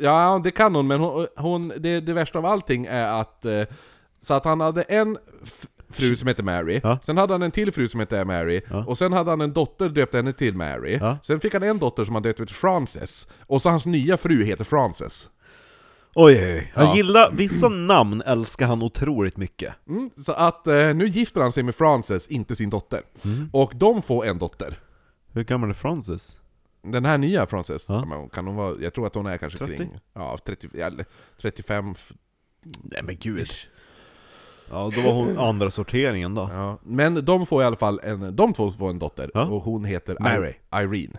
S1: Ja, det kan hon, men hon, hon, det, det värsta av allting är att... eh, Så att han hade en f- fru som hette Mary,
S2: Ja.
S1: sen hade han en till fru som hette Mary, och sen hade han en dotter, döpte henne till Mary.
S2: Ja.
S1: Sen fick han en dotter som han döpte till Frances, och så hans nya fru heter Frances.
S2: Oj, oj, oj. Han
S1: Ja.
S2: gillar, vissa namn älskar han otroligt mycket.
S1: Mm,
S2: Mm.
S1: så att eh, nu gifter han sig med Frances, inte sin dotter. Och de får en dotter.
S2: Hur gammal är Frances?
S1: Den här nya Frances,
S2: Ja.
S1: ja. men kan hon vara, jag tror att hon är kanske
S2: 30?
S1: kring ja, 30, eller 35 f-
S2: Nej men gud.
S1: ish.
S2: Ja, då var hon andra sorteringen då.
S1: Ja. Men de får i alla fall en, de två får en dotter,
S2: Ja.
S1: och hon heter I-
S2: Mary.
S1: Irene.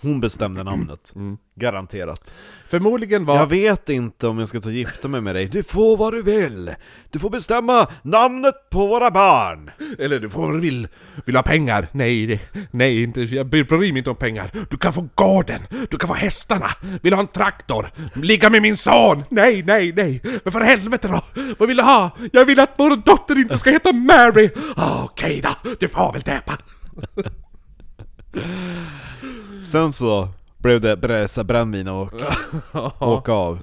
S2: Hon bestämde namnet.
S1: Mm.
S2: Garanterat.
S1: Förmodligen var...
S2: Jag vet inte om jag ska ta och gifta mig med dig. Du får vad du vill! Du får bestämma namnet på våra barn!
S1: Eller du får vill, vill ha pengar? Nej, det- nej, inte, jag bryr bryr mig inte om pengar. Du kan få gården, du kan få hästarna, vill ha en traktor, ligga med min son! Nej, nej, nej! Men för helvete då! Vad vill du ha? Jag vill att vår dotter inte ska heta Mary! Ah, Okej då, du får väl döpa!
S2: Sen så blev det bräsa
S1: <laughs>
S2: brännvin och åka av.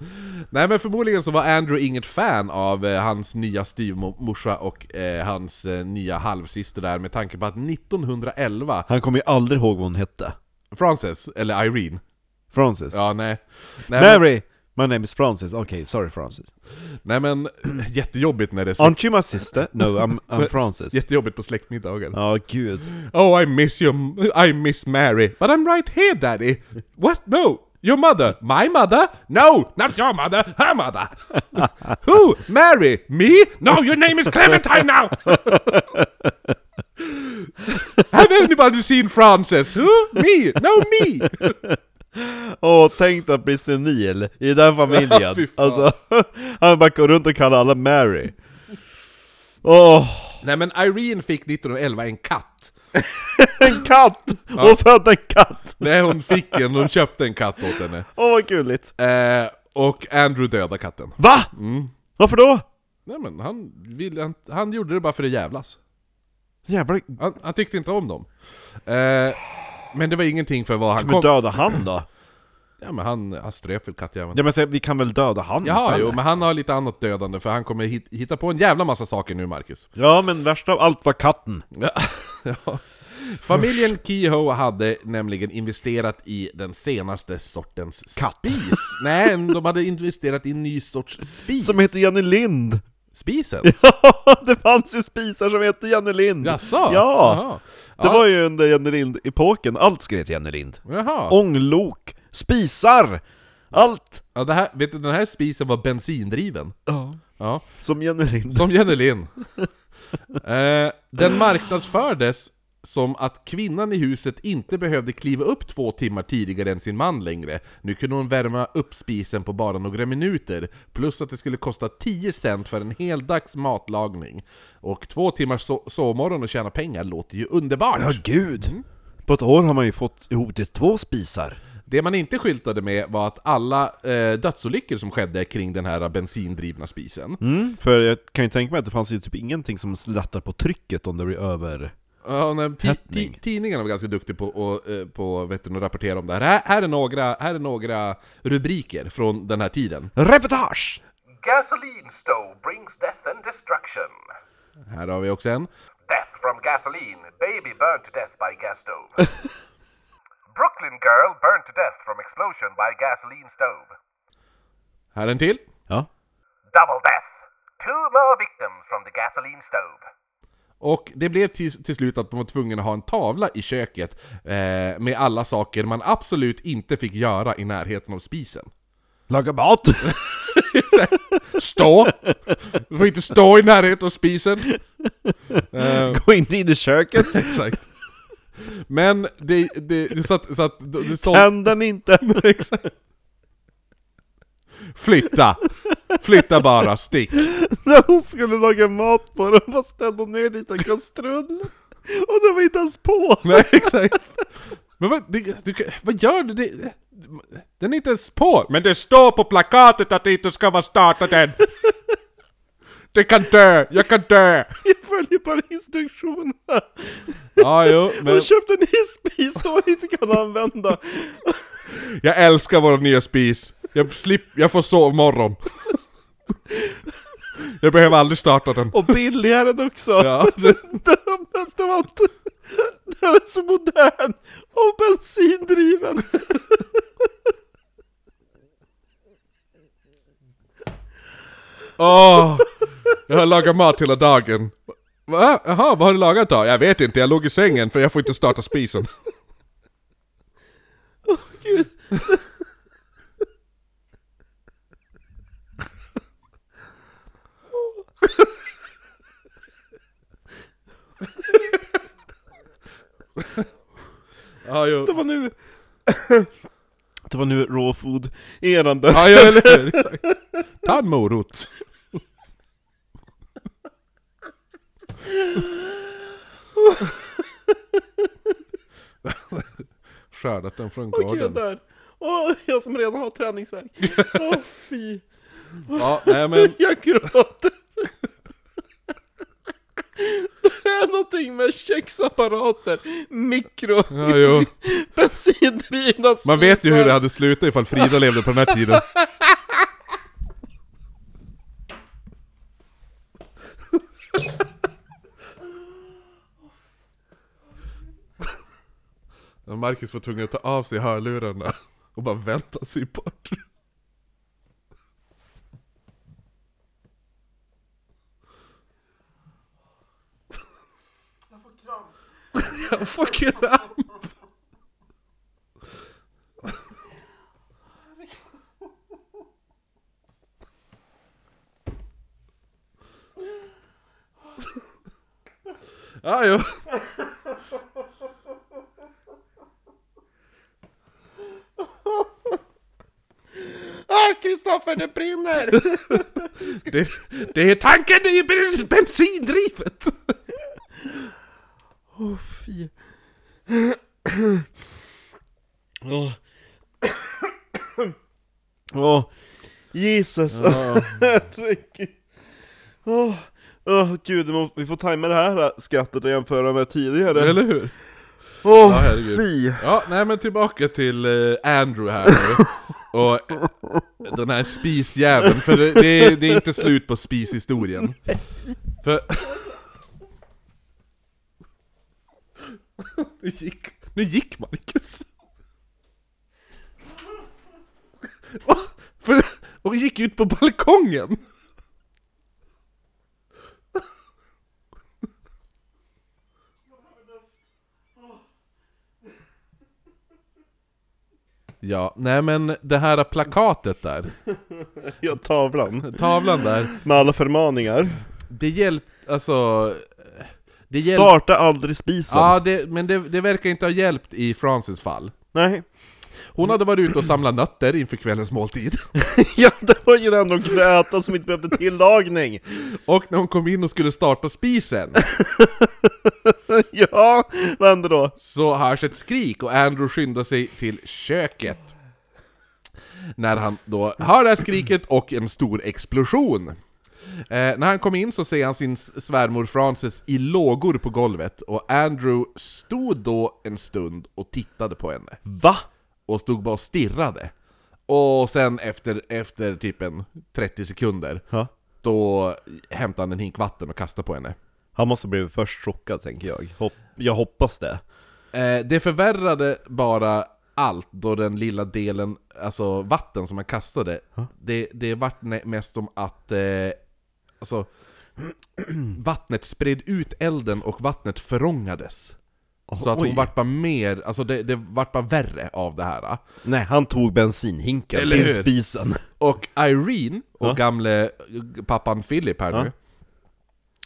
S1: Nej men förmodligen så var Andrew inget fan av eh, hans nya styvmorsa och eh, hans eh, nya halvsyster där med tanke på att 1911,
S2: Han kommer ju aldrig ihåg vad hon hette.
S1: Frances, eller Irene,
S2: Frances.
S1: ja nej. nej men-
S2: Mary! My name is Frances. Okej, sorry Frances.
S1: Nej men, <clears throat> jättejobbigt när det är släkt,
S2: Aren't you my sister? No, I'm,
S1: <laughs>
S2: I'm Frances.
S1: jättejobbigt på släktmiddagar.
S2: Ja, gud.
S1: Oh I miss you, I miss Mary, but I'm right here daddy! What? No! Your mother? My mother? No! Not your mother, her mother! Who? Mary? Me? No, your name is Clementine now! Have anybody seen Frances? Who? Me? No, me!
S2: Åh, tänk dig att bli senil i
S1: <laughs>
S2: den familjen.
S1: Fy fan.
S2: alltså, <laughs> han bara går runt och kallar alla Mary. Åh, <laughs>
S1: Nej men Irene fick 1911 en katt.
S2: en katt! Hon födde en katt!
S1: Nej hon fick en, hon köpte en katt åt henne.
S2: Åh, vad gulligt.
S1: Eh, och Andrew dödade katten.
S2: Va?
S1: Mm.
S2: Varför då?
S1: Nej men han, ville, han, han gjorde det bara för att jävlas.
S2: Jävlar,
S1: Han, han tyckte inte om dem. Eh, men det var ingenting för vad han
S2: men
S1: kom...
S2: döda han då?
S1: Ja men han, han ströp väl kattjäveln.
S2: Ja men säg, vi kan väl döda han
S1: Jaha,
S2: istället?
S1: jo, men han har lite annat dödande för han kommer hit, hitta på en jävla massa saker nu Marcus.
S2: Ja men värst av allt var katten.
S1: Ja. <laughs> Ja. Familjen Kehoe hade nämligen investerat i den senaste sortens
S2: <laughs> Katt.
S1: spis. Nej, de hade investerat i en ny sorts spis.
S2: Som heter Jenny Lind! <laughs>
S1: Spisen?
S2: det fanns ju spisar som hette Jenny Lind!
S1: Jaså?
S2: Ja!
S1: Jaha.
S2: Det
S1: Ja.
S2: var ju under Jenny Lind-epoken, allt ska heta Jenny Lind.
S1: Jaha.
S2: Ånglok, spisar, allt!
S1: Ja, det här, vet du, den här spisen var bensindriven. Ja.
S2: Som Jenny Lind.
S1: Som Jenny Lind. eh, den marknadsfördes som att kvinnan i huset inte behövde kliva upp två timmar tidigare än sin man längre. Nu kunde hon värma upp spisen på bara några minuter, plus att det skulle kosta 10 cent för en heldags matlagning. Och två timmars so- sovmorgon och tjäna pengar låter ju underbart!
S2: Ja gud!
S1: Mm.
S2: På ett år har man ju fått ihop till två spisar.
S1: Det man inte skyltade med var att alla eh, dödsolyckor som skedde kring den här bensindrivna spisen,
S2: Mm, för jag kan ju tänka mig att det fanns ju typ ingenting som slättar på trycket om det blir över...
S1: Ja, och när ti-
S2: Häppning.
S1: ti- tidningarna var ganska duktiga på, och, eh, på vet du, att rapportera om det här. här. Här är, några, här är några rubriker från den här tiden.
S2: Reportage!
S5: Gasoline stove brings death and destruction.
S1: Här har vi också en.
S5: Death from gasoline. Baby burned to death by gas stove. Brooklyn girl burned to death from explosion by gasoline stove.
S1: Här en till.
S2: Ja.
S5: Double death. Two more victims from the gasoline stove.
S1: Och det blev till, till slut att man var tvungen att ha en tavla i köket eh, med alla saker man absolut inte fick göra i närheten av spisen.
S2: Laga mat!
S1: Stå! Du får inte stå i närheten av spisen! <laughs> Eh,
S2: <laughs> Gå inte in i köket!
S1: exakt. Men det... det, det så att... Så att det, det såld-
S2: Tänd den inte!
S1: <laughs> Flytta! Flytta bara, stick!
S2: När hon skulle laga mat på den bara ställde hon ner en liten kastrull Och den var inte ens på!
S1: Nej, exakt. Men vad, det, du, kan- vad gör du? Det, den är inte ens på! Men det står på plakatet att det inte ska vara startat än! Det kan dö! Jag kan dö!
S2: Jag följer bara instruktionerna!
S1: Ja, jo, men
S2: Hon köpte en ny spis som hon inte kan använda!
S1: jag älskar vår nya spis. Jag, slipp, jag får sovmorgon. Jag behöver aldrig starta den.
S2: Och billigare än också!
S1: Ja.
S2: Det var bäst av allt! Den är så modern! Och bensindriven!
S1: Åh! Jag har lagat mat hela dagen. Va? Jaha, vad har du lagat då? Jag vet inte, jag låg i sängen för jag får inte starta spisen. Ja, jo.
S2: Det var nu... det var nu raw food erande.
S1: Ja, ja, eller hur? Exakt. Ta en
S2: <laughs>
S1: morot. Skördat den från
S2: Åh gud,
S1: gården.
S2: där. Åh, jag som redan har träningsvärk. Åh fy.
S1: Ja, nej men...
S2: Jag gråter. Det är någonting med köksapparater, mikro,
S1: Ja, jo.
S2: bensindrivna
S1: Man vet ju hur det
S2: spisar.
S1: hade slutat ifall Frida levde på den här <laughs> tiden. Ja, Marcus var tvungen att ta av sig hörlurarna och bara vänta sig bort. Jag får kramp. Ja, jo.
S2: <laughs> Ah, Kristoffer, det brinner!
S1: <laughs> Det, det är tanken i ben- bensindrivet!
S2: Fy. Åh. Åh. Jesus. <laughs> Herregud. Åh. Åh, gud, vi må- vi får tajma det här skrattet och jämföra med tidigare.
S1: Eller hur?
S2: Åh,
S1: herregud.
S2: fy.
S1: Ja, nej men tillbaka till eh, Andrew här <laughs> nu. Och eh, den här spisjäveln, för det, det, är, det är inte slut på spishistorien. För... <laughs> Nu gick, nu gick Marcus. Och, för, och gick ut på balkongen. Ja, nej men det här plakatet där,
S2: Ja, tavlan.
S1: tavlan där.
S2: Med alla förmaningar.
S1: Det hjälpte, alltså... Det hjälp-
S2: Starta aldrig spisen.
S1: Ja, det, men det, det verkar inte ha hjälpt i Frances fall.
S2: Nej. <laughs>
S1: Hon hade varit ute och samlat nötter inför kvällens måltid. <laughs>
S2: Ja, det var ju den de kunde äta som inte behövde tillagning. <laughs>
S1: Och när hon kom in och skulle starta spisen
S2: Ja, vad hände då?
S1: så hörs ett skrik och Andrew skyndar sig till köket. När han då hör det här skriket och en stor explosion. Eh, när han kom in så ser han sin s- svärmor Frances i lågor på golvet och Andrew stod då en stund och tittade på henne.
S2: Va?
S1: och stod bara och stirrade. Och sen efter, efter typ en 30 sekunder,
S2: Ja.
S1: då hämtade han en hink vatten och kastade på henne.
S2: Han måste bli först chockad tänker jag. Hopp jag hoppas det.
S1: Eh, det förvärrade bara allt då den lilla delen, alltså vatten som han kastade, det, det vart ne- mest om att eh, alltså, <clears throat> vattnet spred ut elden och vattnet förångades. Så att hon
S2: Oj.
S1: vart bara mer, alltså det, det vart bara värre av det här.
S2: Nej, han tog bensinhinken
S1: Eller
S2: till
S1: hur?
S2: spisen.
S1: Och Irene, och
S2: Ja.
S1: gamle pappan Philip här
S2: Ja.
S1: nu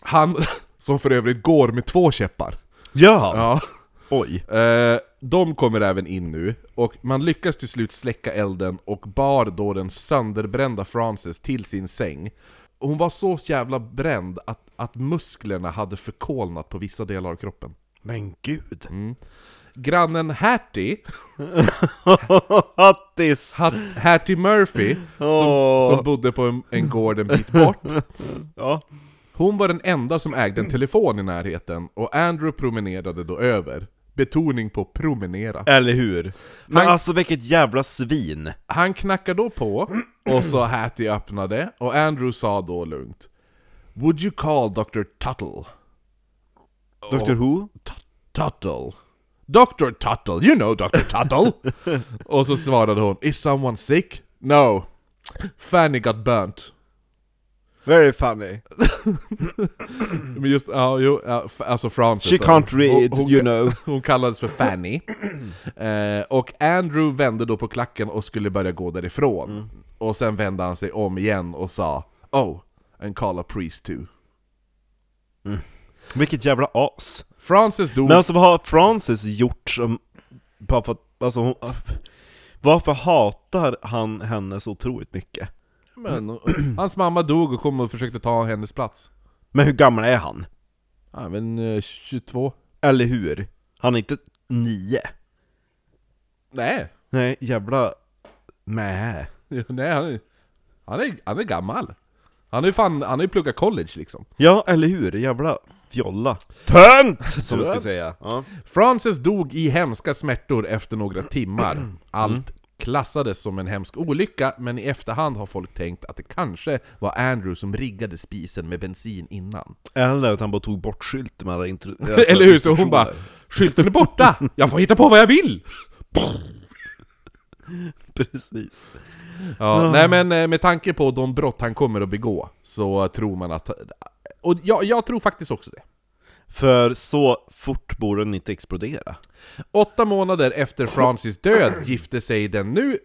S1: Han, <laughs> som för övrigt går med två käppar
S2: Gör han?
S1: Ja
S2: Oj.
S1: eh, De kommer även in nu, och man lyckas till slut släcka elden och bar då den sönderbrända Frances till sin säng Hon var så jävla bränd att, att musklerna hade förkolnat på vissa delar av kroppen
S2: Men gud.
S1: Grannen Hattie,
S2: <laughs> Hattis!
S1: Hat- Hattie Murphy, som,
S2: <laughs> Åh.
S1: som bodde på en, en gård en bit bort
S2: Ja.
S1: Hon var den enda som ägde en telefon i närheten och Andrew promenerade då över. Betoning på promenera.
S2: Eller hur? Men
S1: Han-
S2: alltså vilket jävla svin.
S1: Han knackade då på och så Hattie öppnade och Andrew sa då lugnt Would you call Dr. Tuttle?
S2: Dr Who?
S1: Tut- Tuttle? Dr. Tuttle, you know Dr. Tuttle! och så svarade hon Is someone sick? No. Fanny got burnt.
S2: Very funny.
S1: Men just, ja, jo, ja, f- alltså Frances
S2: She
S1: då.
S2: can't read,
S1: Hon- hon-
S2: you know.
S1: Hon kallades för <clears throat> Fanny. Eh, och Andrew vände då på klacken och skulle börja gå därifrån. Och sen vände han sig om igen och sa Oh, and call a priest too.
S2: Vilket jävla as.
S1: Frances dog.
S2: Men alltså vad har Frances gjort som... Bara för att, alltså hon... Varför hatar han henne så otroligt mycket?
S1: Men, hans mamma dog och kom och försökte ta hennes plats.
S2: Men hur gammal är han?
S1: Ja, men eh, 22?
S2: Eller hur? Han är inte nio.
S1: Nej. <laughs>
S2: Nej, jävla... Mäh.
S1: Ja, Nej, han är, han är, han är gammal. Han har ju fan, han har ju pluggat college liksom.
S2: Ja, eller hur? Jävla fjolla. Tönt! Som vi ska säga. Ja.
S1: Frances dog i hemska smärtor efter några timmar. Allt klassades som en hemsk olycka, men i efterhand har folk tänkt att det kanske var Andrew som riggade spisen med bensin innan.
S2: Eller att han bara tog bort skylten med alla intro-
S1: <laughs>
S2: alltså,
S1: Eller hur? Så hon bara ”Skylten är borta! Jag får hitta på vad jag vill!”
S2: Precis.
S1: ja, Nej men eh, med tanke på de brott han kommer att begå, så tror man att... Och jag, jag tror faktiskt också det.
S2: För så fort borde den inte explodera.
S1: Åtta månader efter Francis död gifte sig den nu...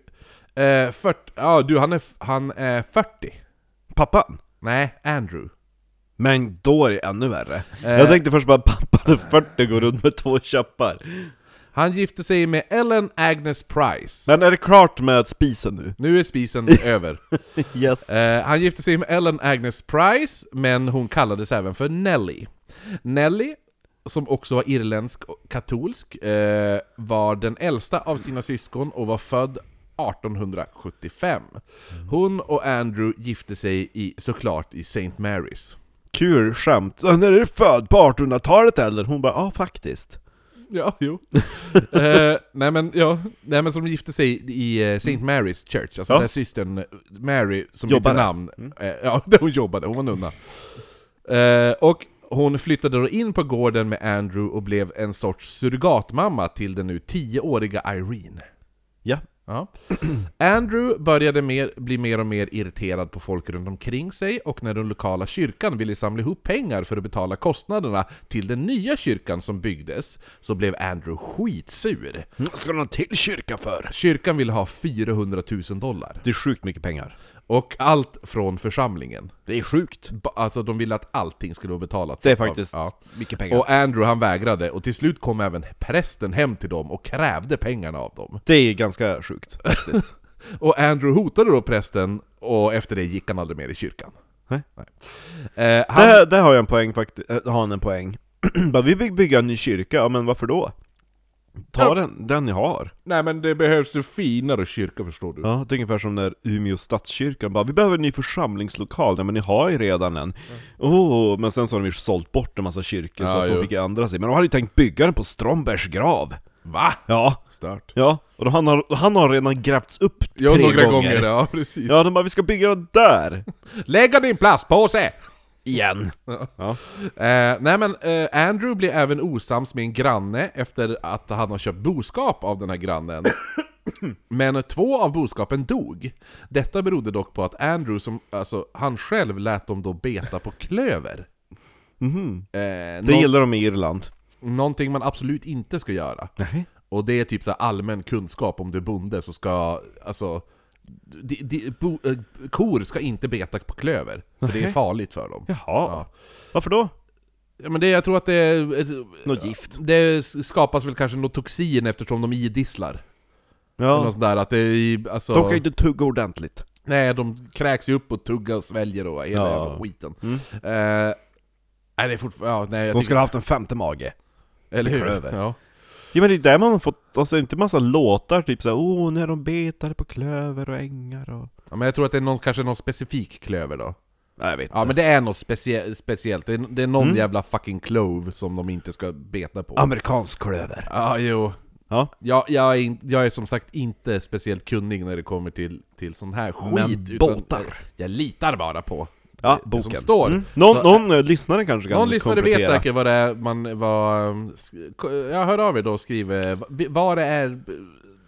S1: Eh, 40, ja du, han är, f- han är 40.
S2: Pappan?
S1: Nej, Andrew.
S2: Men då är det ännu värre.
S1: Eh.
S2: Jag tänkte först bara pappan är 40 går runt med två käppar.
S1: Han gifte sig med Ellen Agnes Price.
S2: Men är det klart med spisen
S1: <laughs>
S2: nu?
S1: Nu är spisen över.
S2: Yes.
S1: Eh, han gifte sig med Ellen Agnes Price, men hon kallades även för Nelly. Nelly, som också var irländsk och katolsk, eh, var den äldsta av sina syskon och var född 1875. Hon och Andrew gifte sig i, såklart i St. Mary's.
S2: Kul skämt. Ja, När är du född? På 1800-talet eller? Hon bara, ja faktiskt.
S1: <laughs> Ja,
S2: <laughs>
S1: jo. eh, nej, men, ja, nej men som gifte sig i eh, St. Mary's Church, alltså
S2: Mm. Ja.
S1: där systern Mary, som
S2: Jobbade. Mm.
S1: bytte namn, eh, ja, <laughs> där hon jobbade, hon var nunna. Eh, och hon flyttade då in på gården med Andrew och blev en sorts surrogatmamma till den nu 10-åriga Irene.
S2: Ja.
S1: Ja. <clears throat> Andrew började mer, bli mer och mer irriterad på folk runt omkring sig och när den lokala kyrkan ville samla ihop pengar för att betala kostnaderna till den nya kyrkan som byggdes så blev Andrew skitsur.
S2: Vad Mm, ska någon till kyrka för?
S1: Kyrkan ville ha 400 000 dollar.
S2: Det är sjukt mycket pengar.
S1: Och allt från församlingen.
S2: Det är sjukt.
S1: Ba- Alltså de ville att allting skulle vara betalat.
S2: Det är faktiskt
S1: Ja.
S2: mycket pengar.
S1: Och Andrew han vägrade och till slut kom även prästen hem till dem och krävde pengarna av dem.
S2: det är ganska <laughs> sjukt.
S1: Och Andrew hotade då prästen och efter det gick han aldrig mer i kyrkan.
S2: Nej.
S1: Eh, han,
S2: Där, där har jag en poäng faktiskt, har han en poäng. <clears throat> Bara, vi vill bygga en ny kyrka, ja men varför då? Ta
S1: Ja.
S2: den, den ni har.
S1: Nej men det behövs en finare kyrka förstår du.
S2: Ja, det är ungefär som när Umeå stadskyrkan bara, vi behöver en ny församlingslokal, nej men ni har ju redan en. Oh, men sen så har de ju sålt bort en massa kyrkor så
S1: Ja,
S2: att de
S1: jo.
S2: fick ju ändra sig. Men de hade ju tänkt bygga den på Strombergs grav.
S1: Va?
S2: Ja,
S1: Stört.
S2: ja. Och då han har, han har redan grävts upp
S1: Jo,
S2: tre
S1: några gånger.
S2: gånger.
S1: ja precis.
S2: Ja, de bara, vi ska bygga den där! <laughs>
S1: Lägg den i en plastpåse!
S2: Igen!
S1: Eh, nej men eh, Andrew blir även osams med en granne efter att han har köpt boskap av den här
S2: <coughs>
S1: grannen. Men två av boskapen dog. Detta berodde dock på att Andrew, som, alltså, han själv lät dem då beta på klöver. Eh,
S2: Mhm. Det
S1: nå-
S2: gillar de i Irland.
S1: någonting man absolut inte ska göra.
S2: Nej.
S1: Och det är typ så här allmän kunskap om du är bonde så ska, alltså... De, de, bo, eh, kor ska inte beta på klöver, för det är farligt för dem.
S2: Jaha.
S1: Ja.
S2: Varför då?
S1: Ja, men det, jag tror att det är... ett-
S2: Något gift.
S1: Det skapas väl kanske något toxin eftersom de idisslar. Eller
S2: Ja.
S1: något sånt där, att det är, alltså...
S2: De kan ju inte tugga ordentligt.
S1: Nej, de kräks ju upp och tuggar och sväljer och hela
S2: Ja. Mm.
S1: jävla skiten. Eh, nej, det är fortfarande... Ja, nej, jag
S2: De
S1: tycker-
S2: skulle ha haft en femte mage.
S1: Eller hur?
S2: klöver.
S1: Ja.
S2: Ja men det är där man har fått, alltså inte massa låtar typ såhär oh, när de betade på klöver och ängar och...
S1: ja, men jag tror att det är någon, kanske någon specifik klöver då.
S2: Nej jag vet
S1: Ja men det är något specie speciellt, det är, det är någon
S2: Mm.
S1: jävla fucking clove som de inte ska beta på. Ja,
S2: Amerikansk klöver.
S1: jo.
S2: Ja.
S1: Jag, jag, är in, jag är som sagt inte speciellt kunnig när det kommer till, till sån här skit.
S2: Men
S1: utan
S2: båtar.
S1: Jag litar bara på
S2: Ja,
S1: det
S2: boken.
S1: som står.
S2: Mm. Någon,
S1: Så-
S2: någon eh, lyssnare kanske kan
S1: Någon lyssnare vet
S2: komplettera.
S1: säkert vad det um, eh, är man, vad... sk- Jag hör av er då och skriver vad det är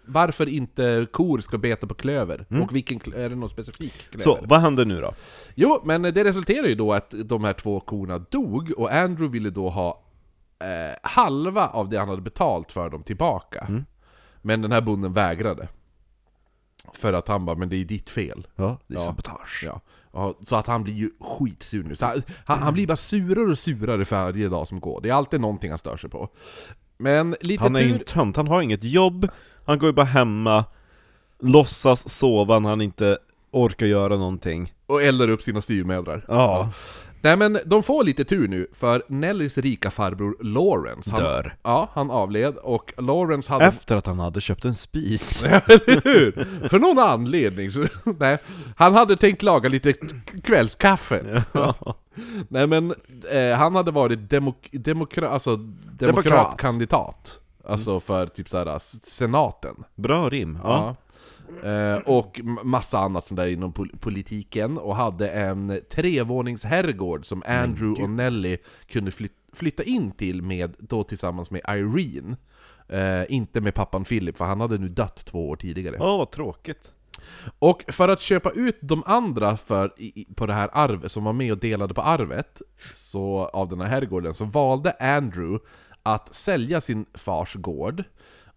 S1: varför inte kor ska beta på klöver. Och vilken, kl- är det någon specifik klöver?
S2: Mm. Så, vad händer nu då?
S1: Jo, men det resulterade ju då att de här två korna dog och Andrew ville då ha eh, halva av det han hade betalt för dem tillbaka.
S2: Mm.
S1: Men den här bonden vägrade. För att han bara 'Men det är ditt fel'
S2: Ja, det är
S1: Ja.
S2: sabotage.
S1: Ja. Ja, Så att han blir ju skitsur nu. Så han, han, han blir bara surare och surare för varje dag som går. Det är alltid någonting han stör sig på. Men lite
S2: Han är ju
S1: tur...
S2: en tönt, han har inget jobb, han går ju bara hemma, låtsas sova när han inte orkar göra någonting.
S1: Och eldar upp sina styvmödrar.
S2: Ja.
S1: Nej men de får lite tur nu, för Nellys rika farbror Lawrence... Han,
S2: Dör.
S1: Ja, han avled och Lawrence hade...
S2: Efter att han hade köpt en spis.
S1: <laughs> Ja, eller hur? För någon anledning. Så, <laughs> nej, han hade tänkt laga lite k- kvällskaffe. <laughs> Nej men, eh, han hade varit demok- demokra- alltså, demokratkandidat. Alltså för typ såhär, s- senaten.
S2: <laughs> Bra rim. Ja.
S1: Ja. Eh, och m- massa annat sånt där inom pol- politiken. Och hade en trevåningsherrgård som Andrew och Nelly kunde flyt- flytta in till med, då tillsammans med Irene. Eh, inte med pappan Philip, för han hade nu dött två år tidigare.
S2: Åh, vad tråkigt.
S1: Och för att köpa ut de andra för, i, i- på det här arvet, som var med och delade på arvet, så, av den här herrgården, så valde Andrew att sälja sin fars gård.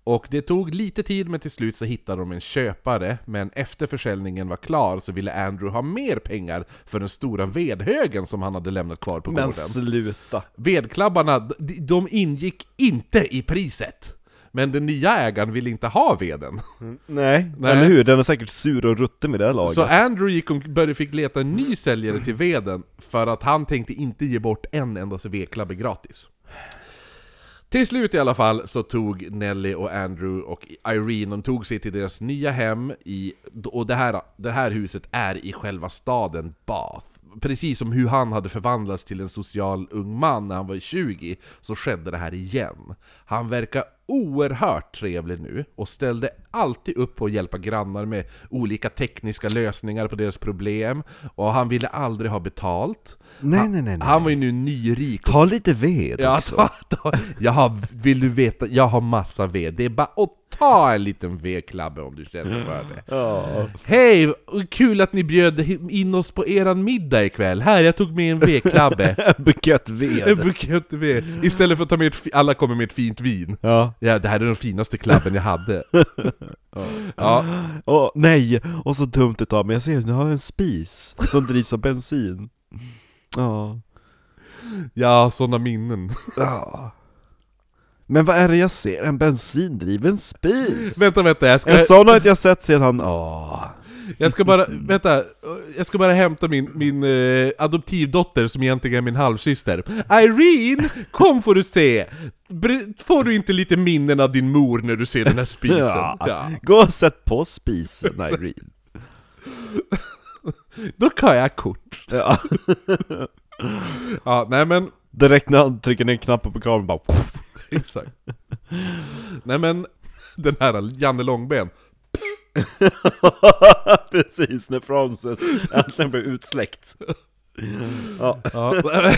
S1: Och det tog lite tid, men till slut så hittade de en köpare, men efter försäljningen var klar så ville Andrew ha mer pengar för den stora vedhögen som han hade lämnat kvar på
S2: Men
S1: gården.
S2: sluta.
S1: Vedklabbarna, d- de ingick inte i priset! Men den nya ägaren ville inte ha veden. <laughs>
S2: Nej.
S1: Nej.
S2: Eller hur? Den är säkert sur och rutten med det här laget.
S1: Så Andrew gick och började fick leta en ny säljare till veden för att han tänkte inte ge bort en enda vedklabbe gratis. Till slut i alla fall så tog Nelly och Andrew och Irene, de tog sig till deras nya hem i, och det här, det här huset är i själva staden Bath. Precis som hur han hade förvandlats till en social ung man när han var 20, så skedde det här igen. Han verkar oerhört trevlig nu och ställde alltid upp på att hjälpa grannar med olika tekniska lösningar på deras problem, och han ville aldrig ha betalt.
S2: Nej, nej, nej, nej.
S1: Han var ju nu nyrik och
S2: Ta lite ved
S1: Ja,
S2: också. <laughs>
S1: ta, ta. Jag har, vill du veta, jag har massa ved. Det är bara att ta en liten vedklabbe om du känner för det. Hej, och kul att ni bjöd in oss på eran middag ikväll. Här, jag tog med en vedklabbe.
S2: En bukett
S1: en
S2: ved.
S1: bukett ved. Istället för att ta med ett, fi- alla kommer med ett fint vin.
S2: Ja.
S1: Ja, det här är den finaste klabben jag hade. Ja,
S2: Åh, nej! Och så dumt det tar, men jag ser nu har jag en spis som drivs av bensin. Ja.
S1: ja sådana minnen.
S2: Ja. Men vad är det jag ser? En bensindriven spis?
S1: Vänta, vänta, jag ska...
S2: en sån har inte jag sett sedan... Åh.
S1: Jag ska bara, vänta, jag ska bara hämta min, min eh, adoptivdotter som egentligen är min halvsyster. Irene, kom får du se! Br- får du inte lite minnen av din mor när du ser den här spisen?
S2: <laughs> Ja.
S1: Ja.
S2: Gå och sätt på spisen, Irene.
S1: Då kan jag kort.
S2: Ja.
S1: <laughs> Ja, nej men,
S2: Direkt när han trycker ner knappen på kameran bara...
S1: exakt. Nej men, den här Janne Långben.
S2: <laughs> Precis, när Frances äntligen blev utsläckt. Ja.
S1: Ja. <laughs>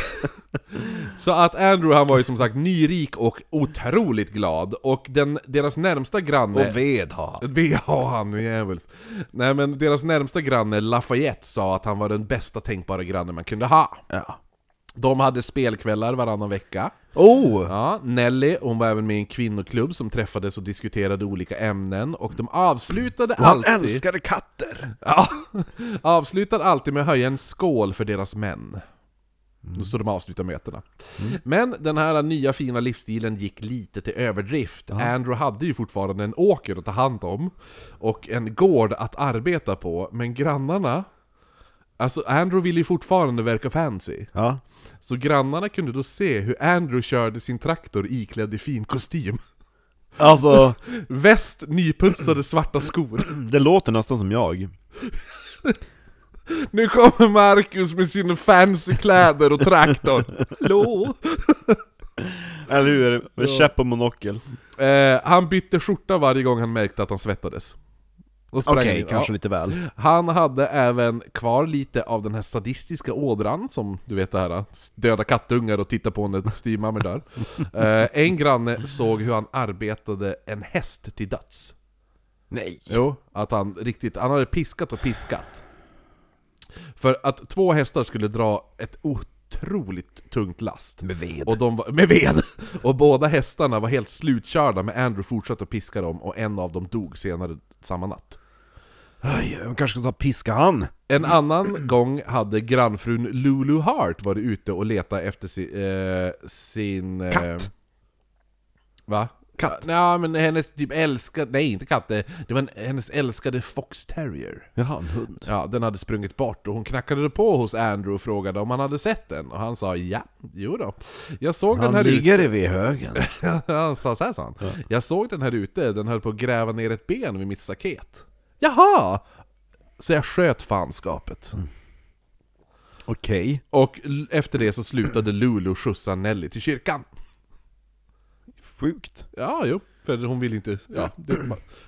S1: Så att Andrew han var ju som sagt nyrik och otroligt glad, och den, deras närmsta granne...
S2: Och ved har
S1: <laughs>
S2: han.
S1: Det har han nu jävels. Nej men deras närmsta granne Lafayette sa att han var den bästa tänkbara grannen man kunde ha.
S2: Ja.
S1: De hade spelkvällar varannan vecka.
S2: Oh!
S1: Ja, Nelly, hon var även med i en kvinnoklubb som träffades och diskuterade olika ämnen och de avslutade
S2: Och han
S1: alltid...
S2: älskade katter!
S1: Ja, <laughs> avslutade alltid med att höja en skål för deras män. Så de avslutar mötena. Men den här nya fina livsstilen gick lite till överdrift. Andrew hade ju fortfarande en åker att ta hand om och en gård att arbeta på, men grannarna Alltså Andrew ville ju fortfarande verka fancy,
S2: Ja.
S1: så grannarna kunde då se hur Andrew körde sin traktor iklädd i fin kostym.
S2: Alltså,
S1: Väst, nyputsade svarta skor.
S2: <clears throat> det låter nästan som jag.
S1: Nu kommer Marcus med sina fancy kläder och traktorn. Hallå?
S2: Eller hur? Med käpp och monokel.
S1: Eh, han bytte skjorta varje gång han märkte att han svettades. Och sprang in.
S2: kanske
S1: Ja.
S2: lite väl.
S1: Han hade även kvar lite av den här sadistiska ådran som, du vet det här, döda kattungar och titta på när styvmammor dör. Eh, en granne såg hur han arbetade en häst till döds.
S2: Nej!
S1: Jo, att han riktigt, han hade piskat och piskat. För att två hästar skulle dra ett otroligt tungt last.
S2: Med ved.
S1: Och de var, med ved! <laughs> Och båda hästarna var helt slutkörda, men Andrew fortsatte att piska dem och en av dem dog senare samma natt.
S2: Aj, de kanske ska ta piska han!
S1: En
S2: <clears throat>
S1: annan gång hade grannfrun Lulu Hart varit ute och letat efter si, eh, sin... Eh,
S2: Katt.
S1: Va?
S2: Katt.
S1: Nej men hennes typ älskade, nej inte katt, det det var en, hennes älskade fox terrier.
S2: Jaha, en hund.
S1: Ja, den hade sprungit bort och hon knackade på hos Andrew och frågade om han hade sett den. Och han sa ja, jo då. Jag såg den
S2: Han
S1: här ute.
S2: ligger i vedhögen.
S1: <laughs> han sa så här, sa han. Jag såg den här ute, den höll på att gräva ner ett ben vid mitt staket. Jaha! Så jag sköt fanskapet.
S2: <laughs> Okej.
S1: Och l- efter det så slutade Lulu skjutsa Nelly till kyrkan.
S2: Sjukt.
S1: Ja, jo. För hon ville inte... Ja, det,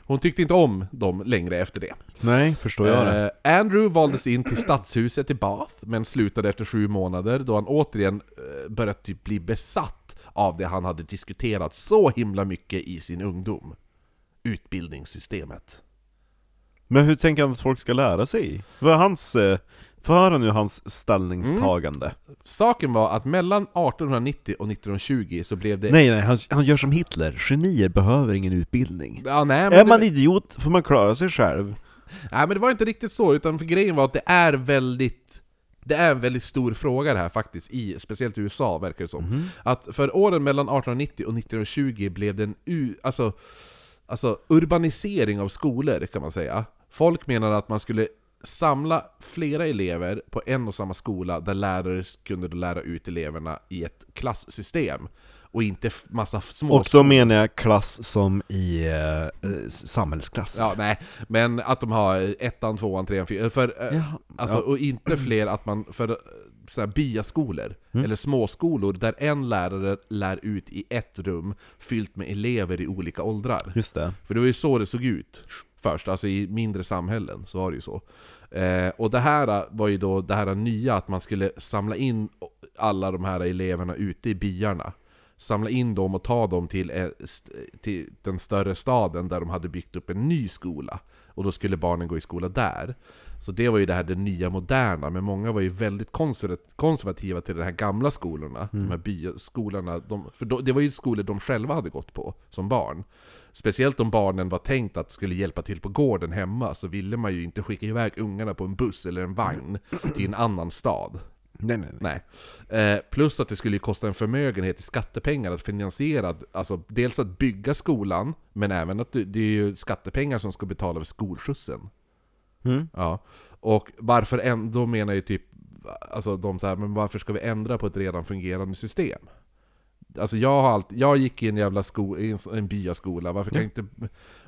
S1: hon tyckte inte om dem längre efter det.
S2: Nej, förstår jag det.
S1: Eh, Andrew valdes in till stadshuset i Bath, men slutade efter sju månader då han återigen eh, började typ bli besatt av det han hade diskuterat så himla mycket i sin ungdom. Utbildningssystemet.
S2: Men hur tänker han att folk ska lära sig? Vad är hans... eh, Få höra nu hans ställningstagande.
S1: Mm. Saken var att mellan 1890 och 1920 så blev det...
S2: Nej, nej, han, han gör som Hitler. Genier behöver ingen utbildning.
S1: Ja, nej, men
S2: Är
S1: det-
S2: man idiot får man klara sig själv.
S1: Nej men det var inte riktigt så, utan för grejen var att det är väldigt det är en väldigt stor fråga det här faktiskt, i, speciellt i USA verkar det som.
S2: Mhm.
S1: Att för åren mellan 1890 och 1920 blev det en u, alltså, alltså urbanisering av skolor kan man säga. Folk menade att man skulle samla flera elever på en och samma skola där lärare kunde då lära ut eleverna i ett klasssystem. Och inte f- massa små
S2: Och då menar jag klass som i eh, eh, samhällsklass.
S1: Ja, nej. Men att de har ettan, tvåan, trean, fyran. För, eh,
S2: Jaha,
S1: alltså, Och inte fler att man, för eh, så här, byaskolor, eller småskolor, där en lärare lär ut i ett rum fyllt med elever i olika åldrar.
S2: Just det.
S1: För det var ju så det såg ut först, alltså i mindre samhällen så var det ju så. Eh, och det här var ju då det här nya, att man skulle samla in alla de här eleverna ute i byarna. Samla in dem och ta dem till, eh, st- till den större staden där de hade byggt upp en ny skola. Och då skulle barnen gå i skola där. Så det var ju det här det nya moderna, men många var ju väldigt konservat- konservativa till de här gamla skolorna, de här byskolorna. De, för då, det var ju skolor de själva hade gått på som barn. Speciellt om barnen var tänkt att skulle hjälpa till på gården hemma så ville man ju inte skicka iväg ungarna på en buss eller en vagn till en annan stad.
S2: Nej, nej, nej.
S1: Nej. Eh, plus att det skulle ju kosta en förmögenhet i skattepengar att finansiera, alltså dels att bygga skolan, men även att det, det är ju skattepengar som ska betala för skolskjutsen.
S2: Mm.
S1: Ja. Och varför ändå menar ju typ, alltså de så här, men varför ska vi ändra på ett redan fungerande system? Alltså jag har allt, jag gick i en jävla sko, i en, en byaskola, varför kan inte,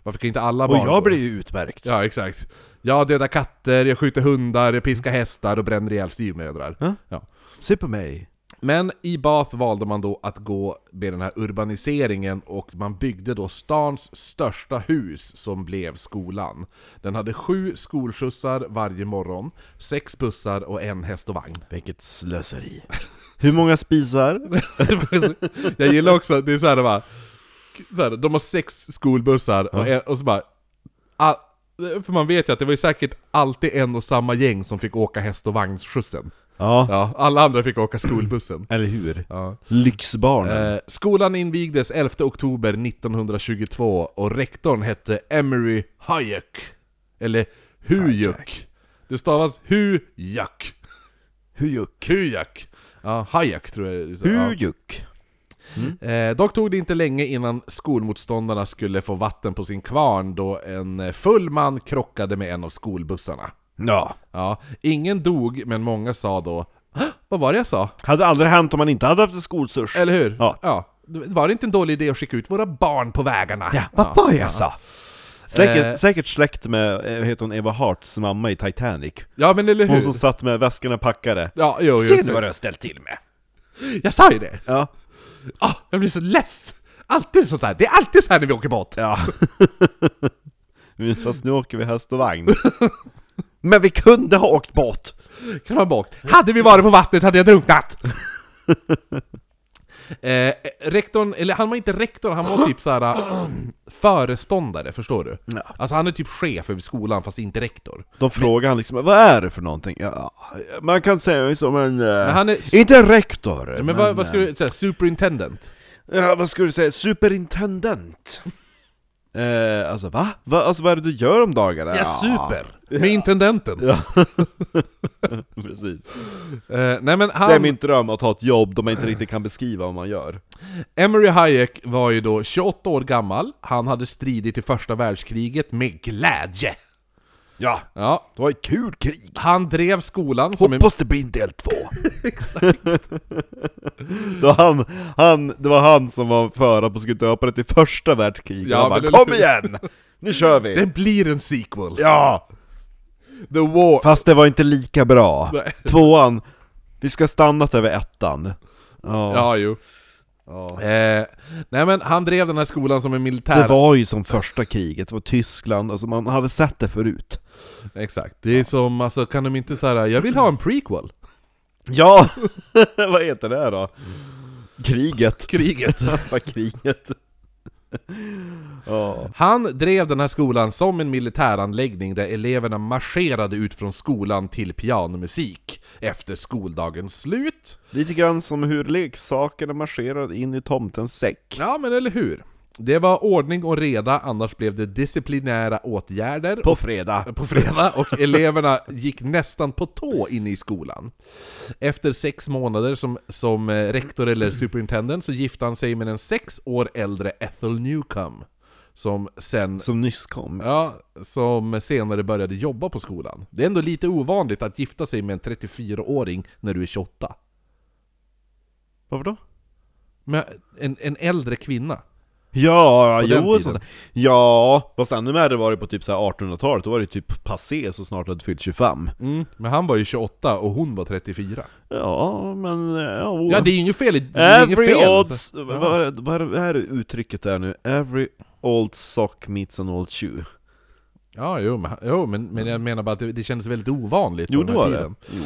S1: varför kan inte alla
S2: Mm. Och
S1: barn gå?
S2: jag blir ju utmärkt.
S1: Ja, exakt. Jag dödar katter, jag skjuter hundar, jag piskar hästar och bränner ihjäl styvmödrar.
S2: Mm. Ja.
S1: Ja.
S2: Se på mig.
S1: Men i Bath valde man då att gå med den här urbaniseringen och man byggde då stans största hus som blev skolan. Den hade sju skolskjutsar varje morgon, sex bussar och en häst och vagn. <laughs>
S2: Vilket slöseri. Hur många spisar?
S1: Jag gillar också att det är såhär bara... Så här, de har sex skolbussar och, en, och så bara... All, för man vet ju att det var ju säkert alltid en och samma gäng som fick åka häst och vagnsskjutsen.
S2: Ja,
S1: Ja, alla andra fick åka skolbussen.
S2: eller hur?
S1: Ja.
S2: Lyxbarnen.
S1: Eh, skolan invigdes 11 oktober 1922 och rektorn hette Emery Hayek. Eller Hujuk. Det stavas Hujuk.
S2: Hujuk.
S1: Hujuk. Ja, Hayek tror jag det är. Ja.
S2: Hujuk.
S1: Eh, dock tog det inte länge innan skolmotståndarna skulle få vatten på sin kvarn då en eh, full man krockade med en av skolbussarna.
S2: Ja.
S1: Ja, ingen dog, men många sa då "Hå? Vad var det jag sa?
S2: Hade aldrig hänt om man inte hade haft en skolsurs.
S1: Eller hur?
S2: Ja.
S1: Var det inte en dålig idé att skicka ut våra barn på vägarna?
S2: Ja, vad var jag sa? Säkert,
S1: Eh.
S2: säkert släkt med, eh, heter hon Eva Harts mamma i Titanic?
S1: Ja, men eller hur?
S2: Hon som satt med väskorna packade.
S1: Ja, jo, jo.
S2: Ser ni vad du har ställt till med?
S1: Jag sa ju det!
S2: Ja.
S1: Ah, jag blir så less! Alltid sånt här. Det är alltid så här när vi åker båt!
S2: <laughs> Ja. Fast nu åker vi häst och vagn. <laughs> Men vi kunde ha åkt båt!
S1: Kan man bort. Hade vi varit på vattnet hade jag
S2: <laughs>
S1: drunknat! eh, rektorn, eller han var inte rektor, han var typ såhär... <clears throat> föreståndare, förstår du?
S2: Ja.
S1: Alltså han är typ chef över skolan fast inte rektor.
S2: De frågar han liksom, vad är det för någonting? Ja, man kan säga som en... eh,
S1: Men han är... s-
S2: Inte en rektor!
S1: men vad, vad skulle du säga? Superintendent?
S2: Ja, vad skulle du
S1: <laughs>
S2: säga? Superintendent! eh, alltså va? va? Alltså vad är det du gör om dagarna?
S1: Med intendenten?
S2: Ja. Precis.
S1: Eh, nej men
S2: Det är
S1: han...
S2: min dröm att ha ett jobb där man inte riktigt kan beskriva vad man gör.
S1: Emery Hayek var ju då 28 år gammal, han hade stridit i första världskriget med glädje.
S2: Ja,
S1: Ja,
S2: det var ett kul krig!
S1: han drev skolan som en...
S2: Hoppas det blir en del <laughs> två! Exakt! det, var han, han, det var han som var före på skulle döpa det till första världskriget,
S1: Ja,
S2: han
S1: men
S2: bara
S1: det-
S2: Kom igen! Nu kör vi!
S1: Det blir en sequel!
S2: Ja!
S1: The War...
S2: Fast det var inte lika bra.
S1: Nej.
S2: Tvåan, vi ska ha stannat över ettan. Ja.
S1: Ja, jo. Eh, nej men han drev den här skolan som en militär...
S2: Det var ju som första kriget, det var Tyskland, alltså man hade sett det förut.
S1: Exakt. Det är som, alltså kan de inte säga jag vill ha en prequel?
S2: Ja! <laughs> Vad heter det då? Kriget.
S1: Kriget.
S2: <laughs> Vad kriget. Ja.
S1: Han drev den här skolan som en militäranläggning där eleverna marscherade ut från skolan till pianomusik efter skoldagens slut.
S2: Lite grann som hur leksakerna marscherade in i tomtens säck.
S1: Ja, men eller hur? Det var ordning och reda, annars blev det disciplinära åtgärder.
S2: På fredag.
S1: på fredag och eleverna gick nästan på tå inne i skolan. Efter sex månader som, som eh, rektor eller superintendent så gifte han sig med den sex år äldre Ethel Newcomb. Som sen...
S2: Som nyss kom.
S1: Ja, som senare började jobba på skolan. Det är ändå lite ovanligt att gifta sig med en 34-åring när du är 28.
S2: Varför då?
S1: Men en, en äldre kvinna.
S2: Ja,
S1: På den
S2: jo
S1: tiden.
S2: sånt där. Ja, fast ännu värre var det på typ så här 1800-talet, då var det typ passé så snart du hade fyllt 25
S1: Men han var ju 28 och hon var 34.
S2: Ja, men... Ja, oh.
S1: Ja, det är ju inget fel i... Det är inget
S2: Every
S1: fel. alltså.
S2: odds...
S1: Ja.
S2: Vad är, det- vad är, vad är det uttrycket där nu? Every old sock meets an old shoe
S1: Ja, jo, men, jo men, men jag menar bara att det, det kändes väldigt ovanligt
S2: Mm. Jo,
S1: på
S2: det
S1: den här
S2: var det.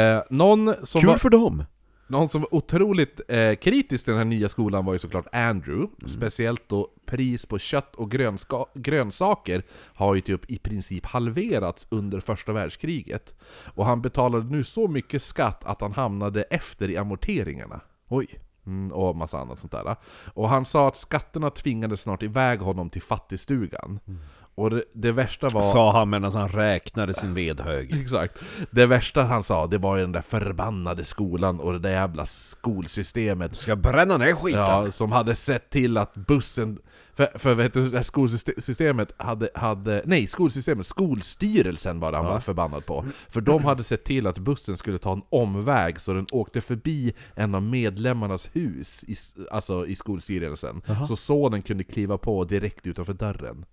S1: tiden. Eh, någon, som
S2: Kul
S1: var,
S2: för dem!
S1: någon som var otroligt eh, kritisk till den här nya skolan var ju såklart Andrew.
S2: Mm.
S1: Speciellt då pris på kött och grönska, grönsaker har ju typ i princip halverats under första världskriget. Och han betalade nu så mycket skatt att han hamnade efter i amorteringarna.
S2: Oj.
S1: Mm, och massa annat sånt där. Och han sa att skatterna tvingade snart iväg honom till fattigstugan.
S2: Mm.
S1: Och det, det värsta var...
S2: Sa han medan han räknade sin vedhög.
S1: <laughs> Exakt. Det värsta han sa, det var ju den där förbannade skolan och det där jävla skolsystemet.
S2: Ska bränna ner skiten!
S1: Ja, som hade sett till att bussen... För, för vet du, det här skolsystemet hade, hade... Nej, skolsystemet, skolstyrelsen var det han var förbannad på. För de hade sett till att bussen skulle ta en omväg så den åkte förbi en av medlemmarnas hus, i, s- alltså i skolstyrelsen. Så sonen kunde kliva på direkt utanför dörren.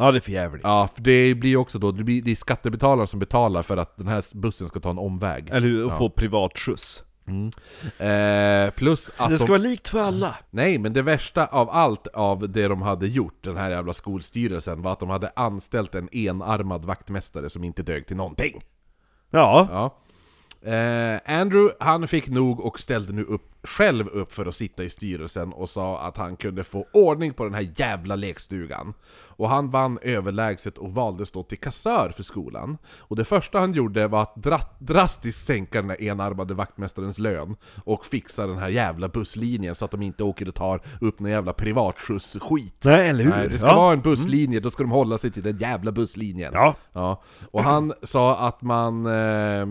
S2: Ja, det är för jävligt.
S1: Ja, för det blir ju också då, det, blir, det är skattebetalarna som betalar för att den här bussen ska ta en omväg.
S2: Eller hur? Att få privatskjuts.
S1: Eh, plus att
S2: Det
S1: de,
S2: ska vara likt för alla!
S1: Nej, men det värsta av allt av det de hade gjort, den här jävla skolstyrelsen, var att de hade anställt en enarmad vaktmästare som inte dög till någonting.
S2: Ja.
S1: Ja. Eh, Andrew, han fick nog och ställde nu upp, själv upp för att sitta i styrelsen och sa att han kunde få ordning på den här jävla lekstugan. Och han vann överlägset och valdes då till kassör för skolan. Och det första han gjorde var att dra- drastiskt sänka den här enarmade vaktmästarens lön och fixa den här jävla busslinjen så att de inte åker och tar upp någon jävla privatskjuts-skit.
S2: Nej, eller hur?
S1: Nej, det ska
S2: ja. Mm.
S1: vara en busslinje, då ska de hålla sig till den jävla busslinjen.
S2: Ja.
S1: Ja, och
S2: <clears throat>
S1: han sa att man... Eh,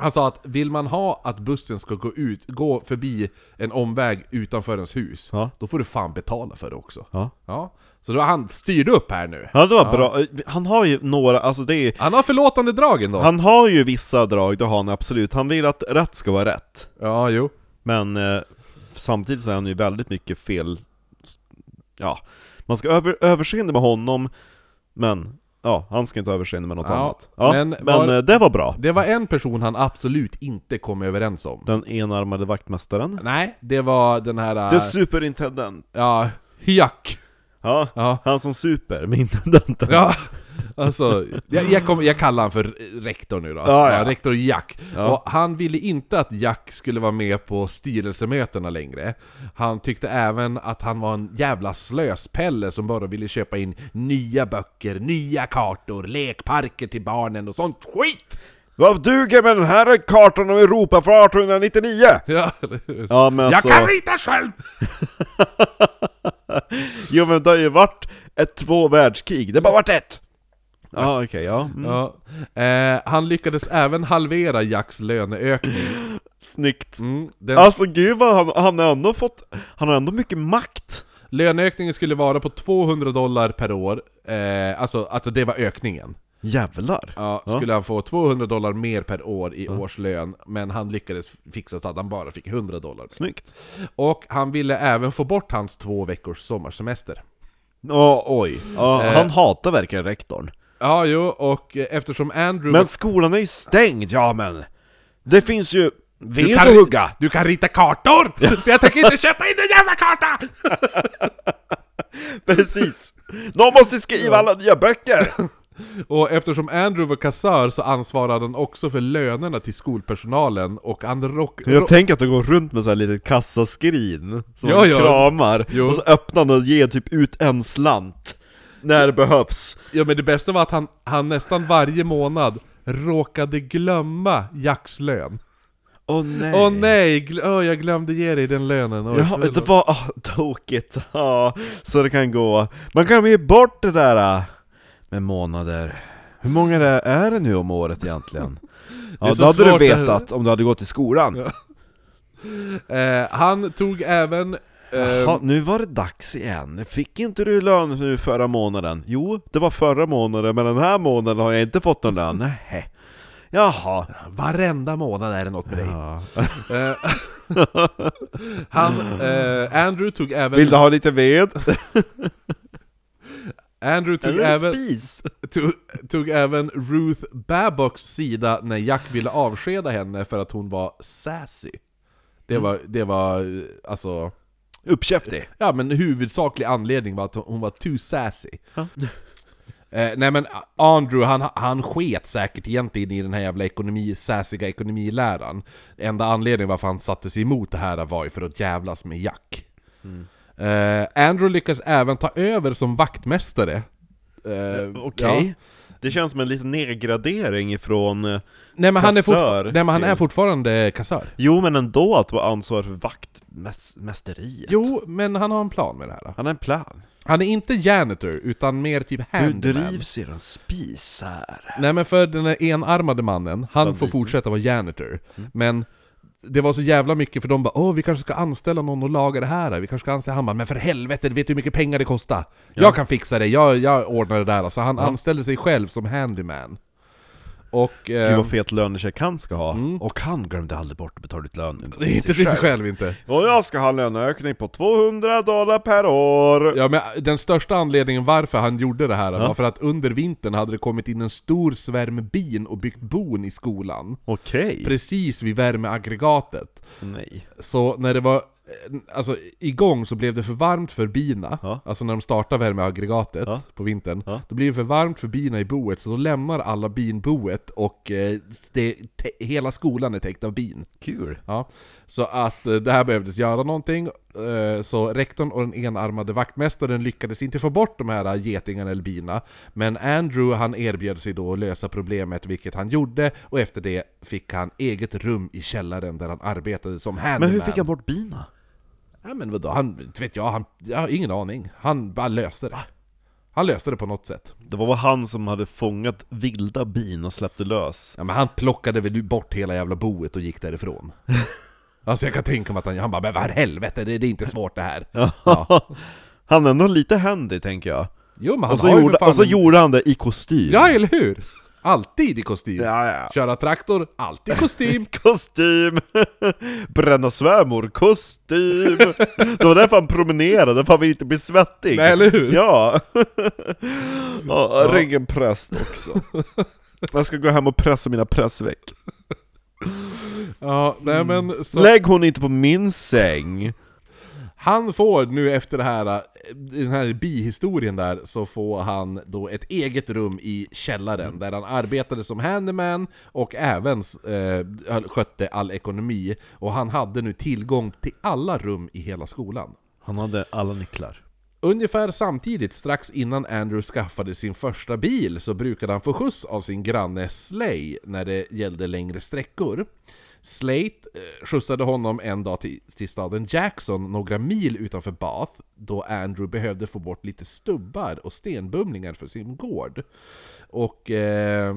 S1: han sa att vill man ha att bussen ska gå ut, gå förbi en omväg utanför ens hus,
S2: Ja.
S1: då får du fan betala för det också.
S2: Ja.
S1: Ja. Så då har han styrde upp här nu.
S2: Ja, det var bra. Han har ju några, alltså det är...
S1: Han har förlåtande drag ändå.
S2: Han har ju vissa drag, det har han absolut. Han vill att rätt ska vara rätt.
S1: Ja, jo.
S2: Men eh, samtidigt så är han ju väldigt mycket fel... Ja, man ska över, överseende med honom, men ja, han ska inte ha överseende med något
S1: Ja,
S2: annat. Ja,
S1: men
S2: men
S1: var-
S2: eh, det var bra.
S1: Det var en person han absolut inte kom överens om.
S2: Den enarmade vaktmästaren.
S1: Nej, det var den här...
S2: The
S1: eh,
S2: superintendent.
S1: Ja, Hyak.
S2: Ja,
S1: Ja.
S2: han som super med intendenten.
S1: Ja, Alltså, jag, jag, kom, jag kallar han för rektor nu då.
S2: Ja, ja.
S1: rektor Jack.
S2: Ja.
S1: Och han ville inte att Jack skulle vara med på styrelsemötena längre. Han tyckte även att han var en jävla slöspelle som bara ville köpa in nya böcker, nya kartor, lekparker till barnen och sånt skit!
S2: <laughs> Vad duger med den här kartan av Europa från 1899?
S1: Ja, eller hur?
S2: Ja men alltså...
S1: Jag kan rita själv!
S2: Jo men det har ju varit ett två världskrig, det har bara varit ett! Ja okej, ja. Mm.
S1: Ja. Eh, han lyckades även halvera Jacks löneökning.
S2: Snyggt.
S1: Mm, den
S2: Alltså gud vad han, han har ändå fått, han har ändå mycket makt.
S1: Löneökningen skulle vara på 200 dollar per år, eh, alltså, alltså det var ökningen.
S2: Jävlar.
S1: Ja, Skulle han få 200 dollar mer per år i årslön, men han lyckades fixa så att han bara fick 100 dollar.
S2: Snyggt.
S1: Och han ville även få bort hans två veckors sommarsemester.
S2: Ja, oj. Ja, Han hatar verkligen rektorn.
S1: Ja, jo, och eh, eftersom Andrew...
S2: Men skolan är ju stängd, ja men! Det finns ju ved att
S1: kan-
S2: hugga!
S1: Du kan rita kartor! För <laughs> jag tänker inte köpa in en jävla karta! <laughs>
S2: Precis! Någon måste skriva alla nya böcker!
S1: Och eftersom Andrew var kassör så ansvarade han också för lönerna till skolpersonalen och han rock...
S2: Jag tänker att de går runt med så här litet kassaskrin som
S1: Ja,
S2: man
S1: ja.
S2: kramar,
S1: Jo.
S2: och så öppnar de och ger typ ut en slant när det behövs.
S1: Ja men det bästa var att han, han nästan varje månad råkade glömma Jacks lön.
S2: Åh nej!
S1: Åh nej, gl- åh, jag glömde ge dig den lönen. Oj,
S2: Jaha,
S1: förlåt.
S2: det var ah, tokigt, ja, så det kan gå. Man kan ju ge bort det där ah, med månader. Hur många det är det nu om året egentligen? Ja,
S1: är
S2: det
S1: så
S2: hade du
S1: svårt det här.
S2: vetat om du hade gått i skolan.
S1: Ja. eh, han tog även... Eh,
S2: Jaha, nu var det dags igen. Fick inte du lön nu förra månaden? Jo, det var förra månaden, men den här månaden har jag inte fått någon lön. Nähä. Jaha.
S1: varenda månad är det något med dig. Eh, han, eh, Andrew tog även...
S2: Vill du ha lite ved?
S1: Andrew tog
S2: Eller
S1: även...
S2: spis?
S1: tog, tog även Ruth Babocks sida när Jack ville avskeda henne för att hon var sassy. Det var, det var eh, alltså,
S2: Uppkäftig.
S1: ja men huvudsaklig anledning var att hon var too sassy.
S2: Ja.
S1: <laughs> Eh, nej men Andrew, han, han sket säkert egentligen i den här jävla ekonomi, sassiga ekonomiläran. Enda anledningen varför han satte sig emot det här var ju för att jävlas med Jack.
S2: Mm.
S1: Eh, Andrew lyckas även ta över som vaktmästare. Eh,
S2: Okej.
S1: ja.
S2: Det känns som en liten nedgradering ifrån... eh,
S1: Nej men, han är,
S2: Kassör
S1: fortfar- Nej, men han är
S2: till-
S1: fortfarande kassör.
S2: Jo, men ändå att vara ansvarig för vaktmästeriet.
S1: Jo, men han har en plan med det här.
S2: Han har en plan.
S1: Han är inte janitor, utan mer typ
S2: Du
S1: handyman.
S2: drivs i den spisar.
S1: Nej men för den här enarmade mannen, han får fortsätta vara janitor. Men det var så jävla mycket för de bara åh vi kanske ska anställa någon och laga det här, vi kanske ska anställa... Han bara men för helvete, vet du hur mycket pengar det kostar? Jag kan fixa det, jag, jag ordnar det där. Så alltså, han anställde sig själv som handyman. Och...
S2: Gud
S1: Eh,
S2: vad fet lönecheck han ska ha. Och han glömde aldrig bort att betala ut lönen.
S1: det är <laughs> inte till sig själv inte.
S2: Och jag ska ha en löneökning på 200 dollar per år!
S1: Ja men eh, den största anledningen varför han gjorde det här var för att under vintern hade det kommit in en stor svärm bin och byggt bon i skolan.
S2: Okej.
S1: Precis vid värmeaggregatet.
S2: Nej.
S1: Så när det var eh, alltså, igång så blev det för varmt för bina,
S2: Ja.
S1: alltså när de startar värmeaggregatet
S2: Ja.
S1: på vintern.
S2: Ja.
S1: Då blir det för varmt för bina i boet, så då lämnar alla bin boet och eh, det, te, hela skolan är täckt av bin.
S2: Kul.
S1: Ja, så att eh, det här behövdes göra någonting, eh, så rektorn och den enarmade vaktmästaren lyckades inte få bort de här getingarna eller bina, men Andrew han erbjöd sig då att lösa problemet, vilket han gjorde, och efter det fick han eget rum i källaren där han arbetade som handyman.
S2: Men hur fick han bort bina?
S1: Ja men vadå, han, inte vet jag, han, jag har ingen aning. Han bara löste det. Han löste det på något sätt.
S2: Det var väl han som hade fångat vilda bin och släppte lös.
S1: Ja men han plockade väl bort hela jävla boet och gick
S2: <laughs>
S1: därifrån. Alltså jag kan tänka mig att han, han bara 'Men vad helvete, det, det är inte svårt det
S2: <laughs>
S1: här'
S2: han är ändå lite handy tänker jag.
S1: Jo men han
S2: Och så,
S1: har ju
S2: gjorde,
S1: för fan
S2: och så
S1: en-
S2: gjorde han det i kostym.
S1: Ja eller hur! Alltid i kostym!
S2: ja, ja.
S1: Köra traktor, alltid i
S2: <laughs>
S1: kostym!
S2: Kostym! Bränna svärmor, kostym!
S1: <laughs>
S2: Det var därför han promenerade, för han ville inte bli svettig.
S1: Nej, eller hur? <laughs>
S2: Ja! ja, Ring en präst också. Jag ska gå hem och pressa mina pressveck.
S1: ja, nej men så...
S2: Lägg hon inte på min säng!
S1: Han får nu efter det här eh, den här bihistorien där så får han då ett eget rum i källaren där han arbetade som handyman och även eh, skötte all ekonomi. Och han hade nu tillgång till alla rum i hela skolan.
S2: Han hade alla nycklar.
S1: Ungefär samtidigt, strax innan Andrew skaffade sin första bil, så brukade han få skjuts av sin granne Slay när det gällde längre sträckor. Slate eh, skjutsade honom en dag till, till staden Jackson några mil utanför Bath, då Andrew behövde få bort lite stubbar och stenbumlingar för sin gård. Och eh,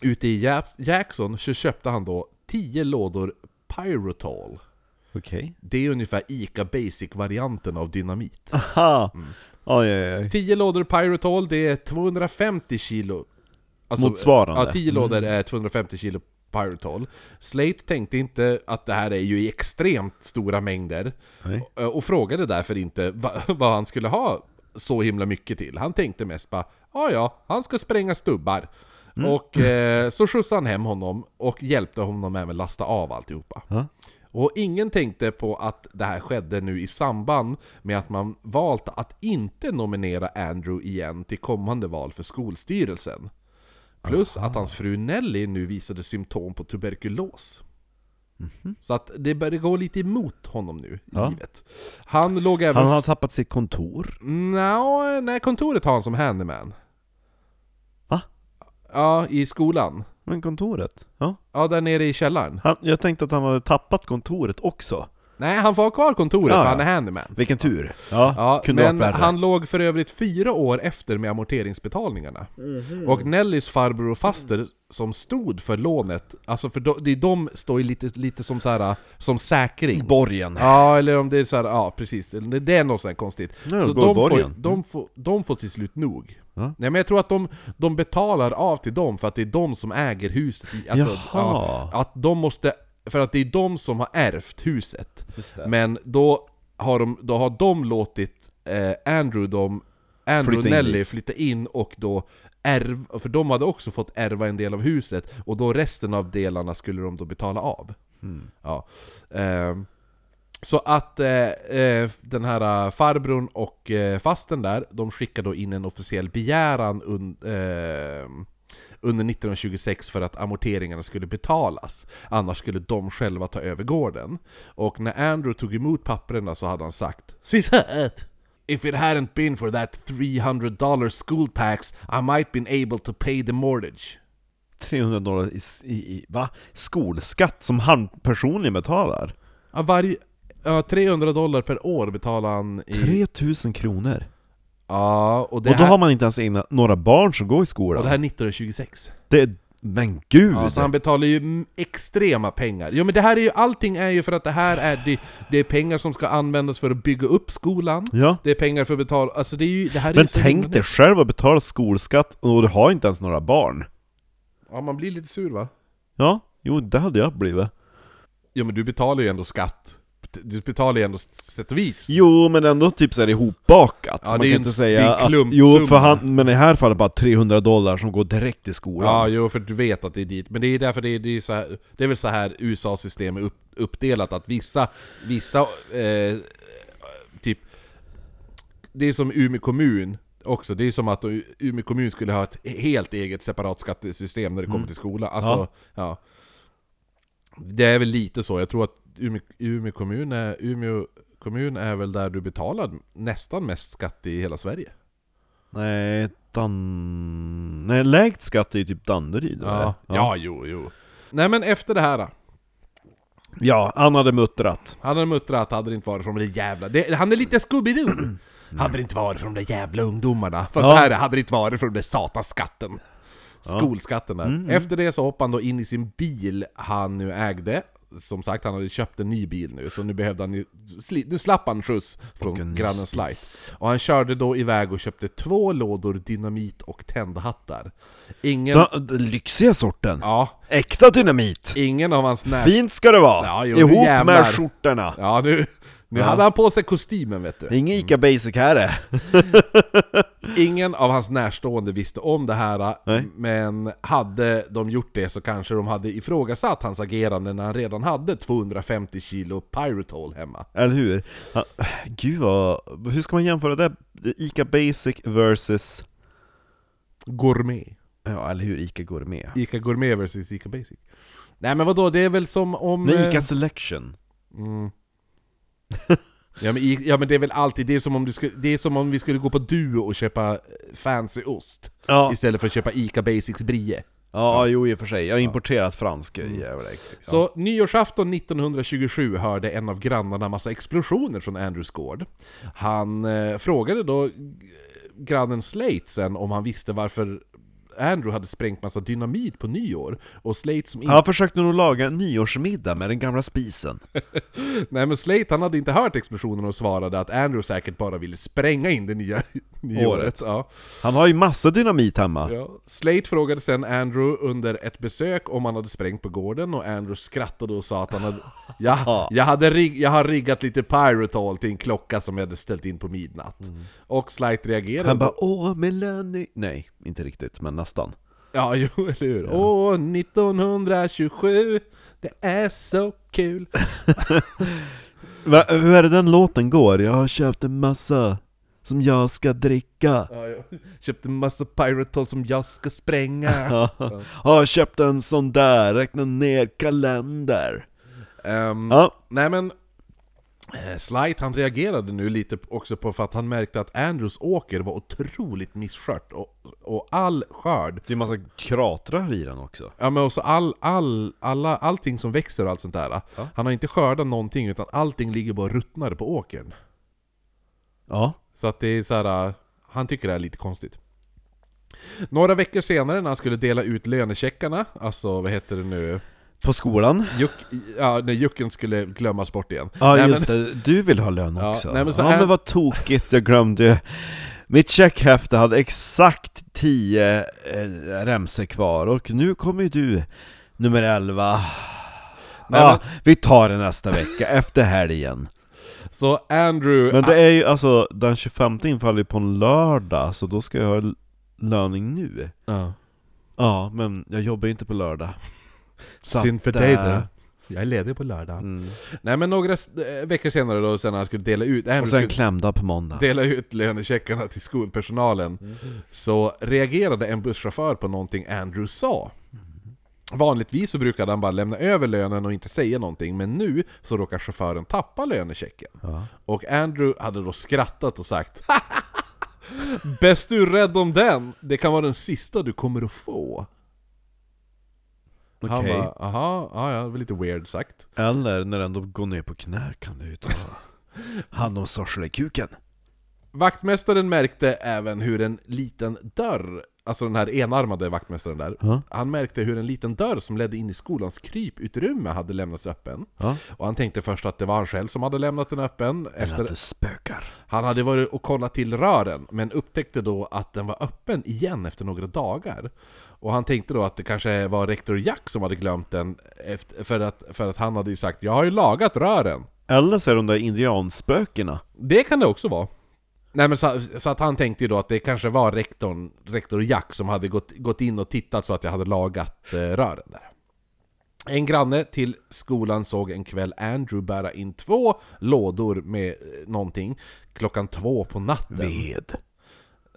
S1: ute i Japs- Jackson så köpte han då 10 lådor Pyrotol.
S2: Okej. Okay.
S1: Det är ungefär ICA Basic-varianten av dynamit.
S2: Aha!
S1: Mm.
S2: Oj, oj, oj.
S1: 10 lådor Pyrotol, det är 250 kilo. Alltså,
S2: Motsvarande. Mm.
S1: Ja, 10 lådor är 250 kilo Pyrotol. Slate tänkte inte att det här är ju i extremt stora mängder.
S2: Nej.
S1: Och, och frågade därför inte va, <laughs> vad han skulle ha så himla mycket till. Han tänkte mest bara ja ja, han ska spränga stubbar.
S2: Mm.
S1: Och eh, så skjutsade han hem honom och hjälpte honom även lasta av alltihopa.
S2: Ja.
S1: Och ingen tänkte på att det här skedde nu i samband med att man valt att inte nominera Andrew igen till kommande val för skolstyrelsen. Plus att hans fru Nelly nu visade symptom på tuberkulos. Så att det började gå lite emot honom nu i
S2: Mhm. Ja.
S1: livet. Han låg även...
S2: Han har tappat sitt kontor.
S1: Nå, nej, kontoret har han som handyman.
S2: Va?
S1: Ja, i skolan.
S2: Men kontoret? Ja.
S1: Ja, där nere i källaren.
S2: Han, jag tänkte att han hade tappat kontoret också.
S1: Nej, han får ha kvar kontoret
S2: Ja,
S1: för
S2: ja.
S1: han är handyman.
S2: Vilken tur. Ja,
S1: Ja,
S2: kunde
S1: men
S2: varit värre.
S1: han låg för övrigt fyra år efter med amorteringsbetalningarna. Och Nellys farbror och faster som stod för lånet, alltså för de, det är de står ju lite, lite som så här som säkring.
S2: Borgen.
S1: Ja, eller om det är så här, ja precis, Eller det det är något sånt här konstigt.
S2: Nej,
S1: så
S2: gå i
S1: de får,
S2: borgen. Mm.
S1: de, får, de får till slut nog.
S2: Ja.
S1: Nej men jag tror att de, de betalar av till dem för att det är de som äger huset. i- Alltså,
S2: Jaha.
S1: att de måste, för att det är de som har ärvt huset.
S2: Just det.
S1: Men då har de, då har de låtit eh, Andrew, de, Andrew
S2: Flytta
S1: och
S2: in
S1: Nelly
S2: dit.
S1: flytta in och då ärv, för de hade också fått ärva en del av huset och då resten av delarna skulle de då betala av.
S2: Mm.
S1: Ja. Ehm, så att eh, eh, den här eh, farbrorn och eh, fasten där, de skickar då in en officiell begäran un, ehm, under 1926 för att amorteringarna skulle betalas. Annars skulle de själva ta över gården. Och när Andrew tog emot papperna så hade han sagt Citat! If it hadn't been for that 300 dollar school tax I might been able to pay the mortgage.
S2: 300 dollar i, s- i, i va? skolskatt som han personligen betalar.
S1: Ja, varje, ja, 300 dollar per år betalar han i...
S2: 3000 kronor.
S1: Ja, och det
S2: Och då
S1: här,
S2: har man inte ens egna, några barn som går i skolan.
S1: och det här 1926.
S2: Det är, men gud!
S1: Ja, så han betalar ju mm, extrema pengar. Jo men det här är ju, allting är ju för att det här är, det, det är pengar som ska användas för att bygga upp skolan.
S2: Ja.
S1: Det är pengar för att betala, alltså det är ju, det här är
S2: Men
S1: ju så himla
S2: tänk dig
S1: nytt.
S2: själv att betala skolskatt och du har inte ens några barn.
S1: Ja man blir lite sur va?
S2: Ja, jo det hade jag blivit.
S1: Jo men du betalar ju ändå skatt. Du betalar ju ändå s- sätt och vis.
S2: Jo, men ändå typ såhär ihopbakat.
S1: Ja,
S2: så man
S1: det är
S2: kan
S1: ju
S2: inte
S1: en-
S2: säga
S1: det är en
S2: att...
S1: klumpsumma.
S2: Jo, för han, men i det här fallet bara 300 dollar som går direkt till skolan.
S1: Ja, jo, för du vet att det är dit. Men det är därför det är, det är, så här, det är väl så här USAs system är upp, uppdelat, att vissa, vissa eh, typ... Det är som Umeå kommun också, det är som att Umeå kommun skulle ha ett helt eget separat skattesystem när det kommer till skola. Alltså, ja.
S2: Ja.
S1: Det är väl lite så, jag tror att Umeå, Umeå, kommun, är, Umeå kommun är väl där du betalar nästan mest skatt i hela Sverige.
S2: Nej, Dan... Nej, lägst skatt är ju typ Danderyd eller?
S1: Ja, ja jo, jo. Nej men efter det här då.
S2: ja, han hade muttrat.
S1: Han hade muttrat, hade det inte varit från de där jävla... Det, han är lite Scooby-Doo! Hade det inte varit från de där jävla ungdomarna. För
S2: Mm. Ja.
S1: det här hade det inte varit från den där satanskatten. Skolskatten där.
S2: Mm,
S1: Efter det så hoppade han då in i sin bil han nu ägde. Som sagt, han hade köpt en ny bil nu, så nu behövde han ju... sli- Nu slapp han skjuts från grannen Slice. Och han körde då iväg och köpte två lådor dynamit och tändhattar. Ingen...
S2: Så, den lyxiga sorten.
S1: Ja,
S2: Äkta dynamit!
S1: ingen av hans nära...
S2: Fint ska det vara!
S1: Ja, jo, nu
S2: Ihop
S1: jävlar.
S2: med skjortorna!
S1: Ja, nu, Nu hade han på sig kostymen vet du.
S2: Ingen Ica Basic här är.
S1: Ingen av hans närstående visste om det här,
S2: Nej.
S1: men hade de gjort det så kanske de hade ifrågasatt hans agerande när han redan hade 250 kilo Pyritol hemma.
S2: Eller hur? Ja, gud vad... Hur ska man jämföra det? Ica Basic versus...
S1: Gourmet.
S2: Ja, eller hur? Ica Gourmet.
S1: Ica Gourmet versus Ica Basic. Nej men vadå, det är väl som om...
S2: Nej, Ica
S1: eh,
S2: Selection.
S1: Mm. ja, men, I- ja men det är väl alltid, det är som om, du skulle, det är som om vi skulle gå på Duo och köpa eh, fancy ost
S2: Ja,
S1: istället för att köpa Ica Basics brie.
S2: ja, jo i och för sig. Jag har importerat fransk jävla liksom. äckligt. ja.
S1: Så nyårsafton 1927 hörde en av grannarna massa explosioner från Andrews gård. Han eh, frågade då eh, grannen Slatesen om han visste varför Andrew hade sprängt massa dynamit på nyår. Och Slate som inte...
S2: Han försökte nog laga en nyårsmiddag med den gamla spisen.
S1: Nej men Slate han hade inte hört explosionen och svarade att Andrew säkert bara ville spränga in det nya <laughs> nyåret. Ja.
S2: Han har ju massa dynamit hemma.
S1: Ja. Slate frågade sen Andrew under ett besök om han hade sprängt på gården och Andrew skrattade och sa att han hade... <laughs> Ja, jag, hade rig- jag har riggat lite Pyritol till en klocka som jag hade ställt in på midnatt. Och Slate reagerade...
S2: Han bara åh Melanie... Nej, inte riktigt, men nästan.
S1: Ja, <laughs> jo, eller hur? Åh, 1927, det är så kul!
S2: Va, hur är det den låten går? Jag har köpt en massa som jag ska dricka.
S1: Ja, jag köpte en massa Pyritol som jag ska spränga. <laughs>
S2: Ja. Har köpt en sån där, räkna ner kalender.
S1: Ehm,
S2: Ja,
S1: Nej men, eh, Slight han reagerade nu lite p- också på för att han märkte att Andrews åker var otroligt misskört och, och all skörd,
S2: det är massa kratrar i den också.
S1: ja men också all, all, alla, allting som växer och allt sånt där. Han har inte skördat någonting utan allting ligger bara och ruttnar på åkern.
S2: Ja.
S1: Så att det är så här, eh, han tycker det är lite konstigt. Några veckor senare när han skulle dela ut lönecheckarna, alltså vad heter det nu?
S2: På skolan?
S1: Juck, ja, när jucken skulle glömmas bort igen.
S2: Ja
S1: Nej, men-
S2: just det, du vill ha lön
S1: Ja,
S2: också. Ja,
S1: nej, men
S2: men,
S1: så här-
S2: vad tokigt, jag glömde Mitt checkhäfte hade exakt 10 eh, remsor kvar och nu kommer ju du, nummer 11.
S1: Nej,
S2: ja, vi tar det nästa vecka, efter helgen.
S1: Så Andrew...
S2: Men det är ju alltså, den 25 infaller ju på en lördag, så då ska jag ha l- löning nu.
S1: Ja.
S2: Ja, men jag jobbar ju inte på lördag. Så
S1: Synd för
S2: att,
S1: dig
S2: eh, Mm.
S1: då. Jag är ledig på lördag. Nej men några s- eh, veckor senare då, sen när han skulle dela ut, äh,
S2: Och sen
S1: skulle
S2: klämdag på måndag.
S1: dela ut lönecheckarna till skolpersonalen,
S2: Mm.
S1: så reagerade en busschaufför på någonting Andrew sa.
S2: Mm.
S1: Vanligtvis så brukade han bara lämna över lönen och inte säga någonting, men nu så råkar chauffören tappa lönechecken. Och Andrew hade då skrattat och sagt <laughs> Bäst du är rädd om den! Det kan vara den sista du kommer att få. Han
S2: Okej.
S1: bara, aha, ja, ja, det var lite weird sagt.
S2: Eller när den då går ner på knä kan du ju <laughs> ta hand om sorslekuken.
S1: Vaktmästaren märkte även hur en liten dörr, alltså den här enarmade vaktmästaren där,
S2: Ja.
S1: han märkte hur en liten dörr som ledde in i skolans kryputrymme hade lämnats öppen.
S2: Ja.
S1: Och han tänkte först att det var han själv som hade lämnat den öppen.
S2: Eller
S1: Efter,
S2: att det spökar.
S1: han hade varit och kollat till rören, men upptäckte då att den var öppen igen efter några dagar. Och han tänkte då att det kanske var rektor Jack som hade glömt den, efter, för, att, för att han hade ju sagt 'Jag har ju lagat rören'
S2: Eller så är de där indianspökena.
S1: Det kan det också vara. Nej men så, så att han tänkte ju då att det kanske var rektorn, rektor Jack som hade gått, gått in och tittat så att jag hade lagat eh, rören där. En granne till skolan såg en kväll Andrew bära in två lådor med eh, någonting klockan två på natten.
S2: Ved.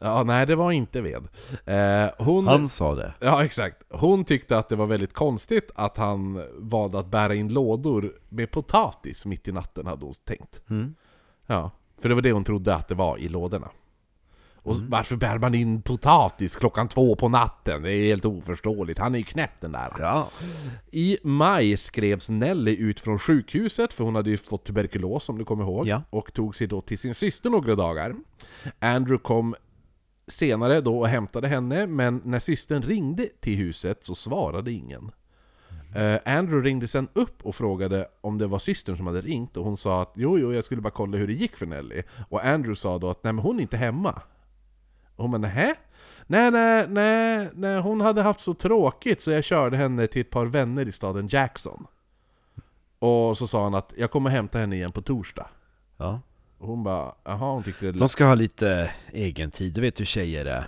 S1: Ja, nej det var inte ved. Eh, hon...
S2: Han sa det.
S1: Ja, exakt. Hon tyckte att det var väldigt konstigt att han valde att bära in lådor med potatis mitt i natten, hade hon tänkt. Ja, för det var det hon trodde att det var i lådorna. Och varför bär man in potatis klockan två på natten? Det är helt oförståeligt. Han är ju knäpp den där.
S2: Ja.
S1: I maj skrevs Nelly ut från sjukhuset, för hon hade ju fått tuberkulos om du kommer ihåg,
S2: Ja.
S1: och tog sig då till sin syster några dagar. Andrew kom senare då och hämtade henne, men när systern ringde till huset så svarade ingen. Eh, Andrew ringde sen upp och frågade om det var systern som hade ringt, och hon sa att jo, jo, jag skulle bara kolla hur det gick för Nelly. Och Andrew sa då att nej, men hon är inte hemma. Och hon bara nähä? Nej, nej, nej, nej, hon hade haft så tråkigt så jag körde henne till ett par vänner i staden Jackson. Och så sa han att jag kommer hämta henne igen på torsdag.
S2: Ja.
S1: Och hon bara, jaha hon tyckte det
S2: De ska ha lite egen tid, du vet hur tjejer är.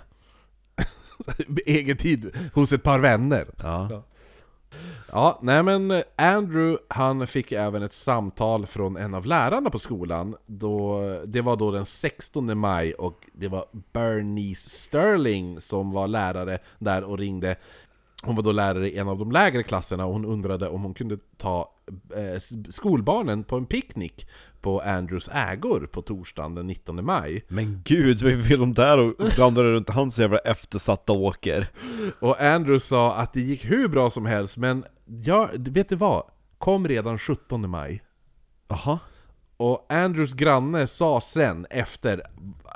S1: <laughs> egen tid hos ett par vänner.
S2: Ja.
S1: Ja, nej men eh, Andrew han fick även ett samtal från en av lärarna på skolan. Då, det var då den 16 maj och det var Bernice Sterling som var lärare där och ringde. Hon var då lärare i en av de lägre klasserna och hon undrade om hon kunde ta eh, s- skolbarnen på en picknick på Andrews ägor på torsdagen den 19 maj.
S2: Men gud, vad vill de där och blandar runt hans jävla eftersatta åker?
S1: Och Andrew sa att det gick hur bra som helst men jag, vet du vad? Kom redan 17 maj.
S2: Jaha.
S1: Och Andrews granne sa sen, efter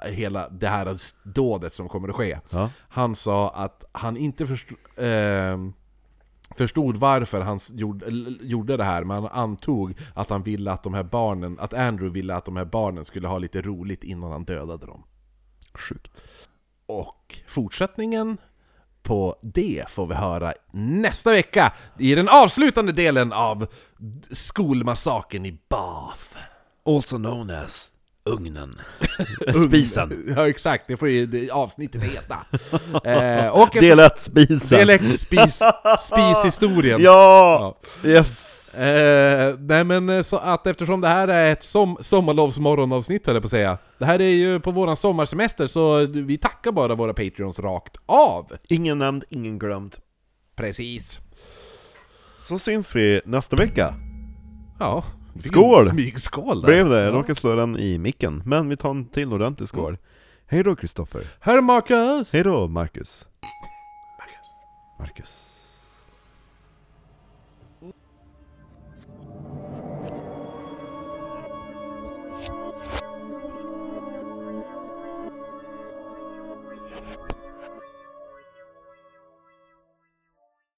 S1: hela det här dådet som kommer att ske,
S2: Ja.
S1: han sa att han inte förstod, ehm, förstod varför han s- gjorde, l- gjorde det här, men han antog att han ville att de här barnen, att Andrew ville att de här barnen skulle ha lite roligt innan han dödade dem.
S2: Sjukt.
S1: Och fortsättningen på det får vi höra nästa vecka i den avslutande delen av skolmassaken i Bath.
S2: Also known as ugnen. <laughs> spisen.
S1: <laughs> Ja exakt, det får ju det avsnittet
S2: <laughs>
S1: heta. eh, och
S2: Del 1, spisen.
S1: del ett
S2: <laughs>
S1: spis, spishistorien.
S2: Ja!
S1: Ja.
S2: Yes!
S1: Eh, nej men eh, så att eftersom det här är ett som, sommarlovsmorgonavsnitt höll jag på att säga. Det här är ju på våran sommarsemester så du- vi tackar bara våra Patreons rakt av.
S2: Ingen nämnd, ingen glömd.
S1: Precis.
S2: Så syns vi nästa vecka.
S1: Ja. det är en
S2: Skål!
S1: Smygskål där.
S2: Blev det? Jag råkade slå den i micken. Men vi tar en till ordentlig skål. Hej då Kristoffer.
S1: Herr Marcus!
S2: Hej då Marcus. Marcus. Marcus.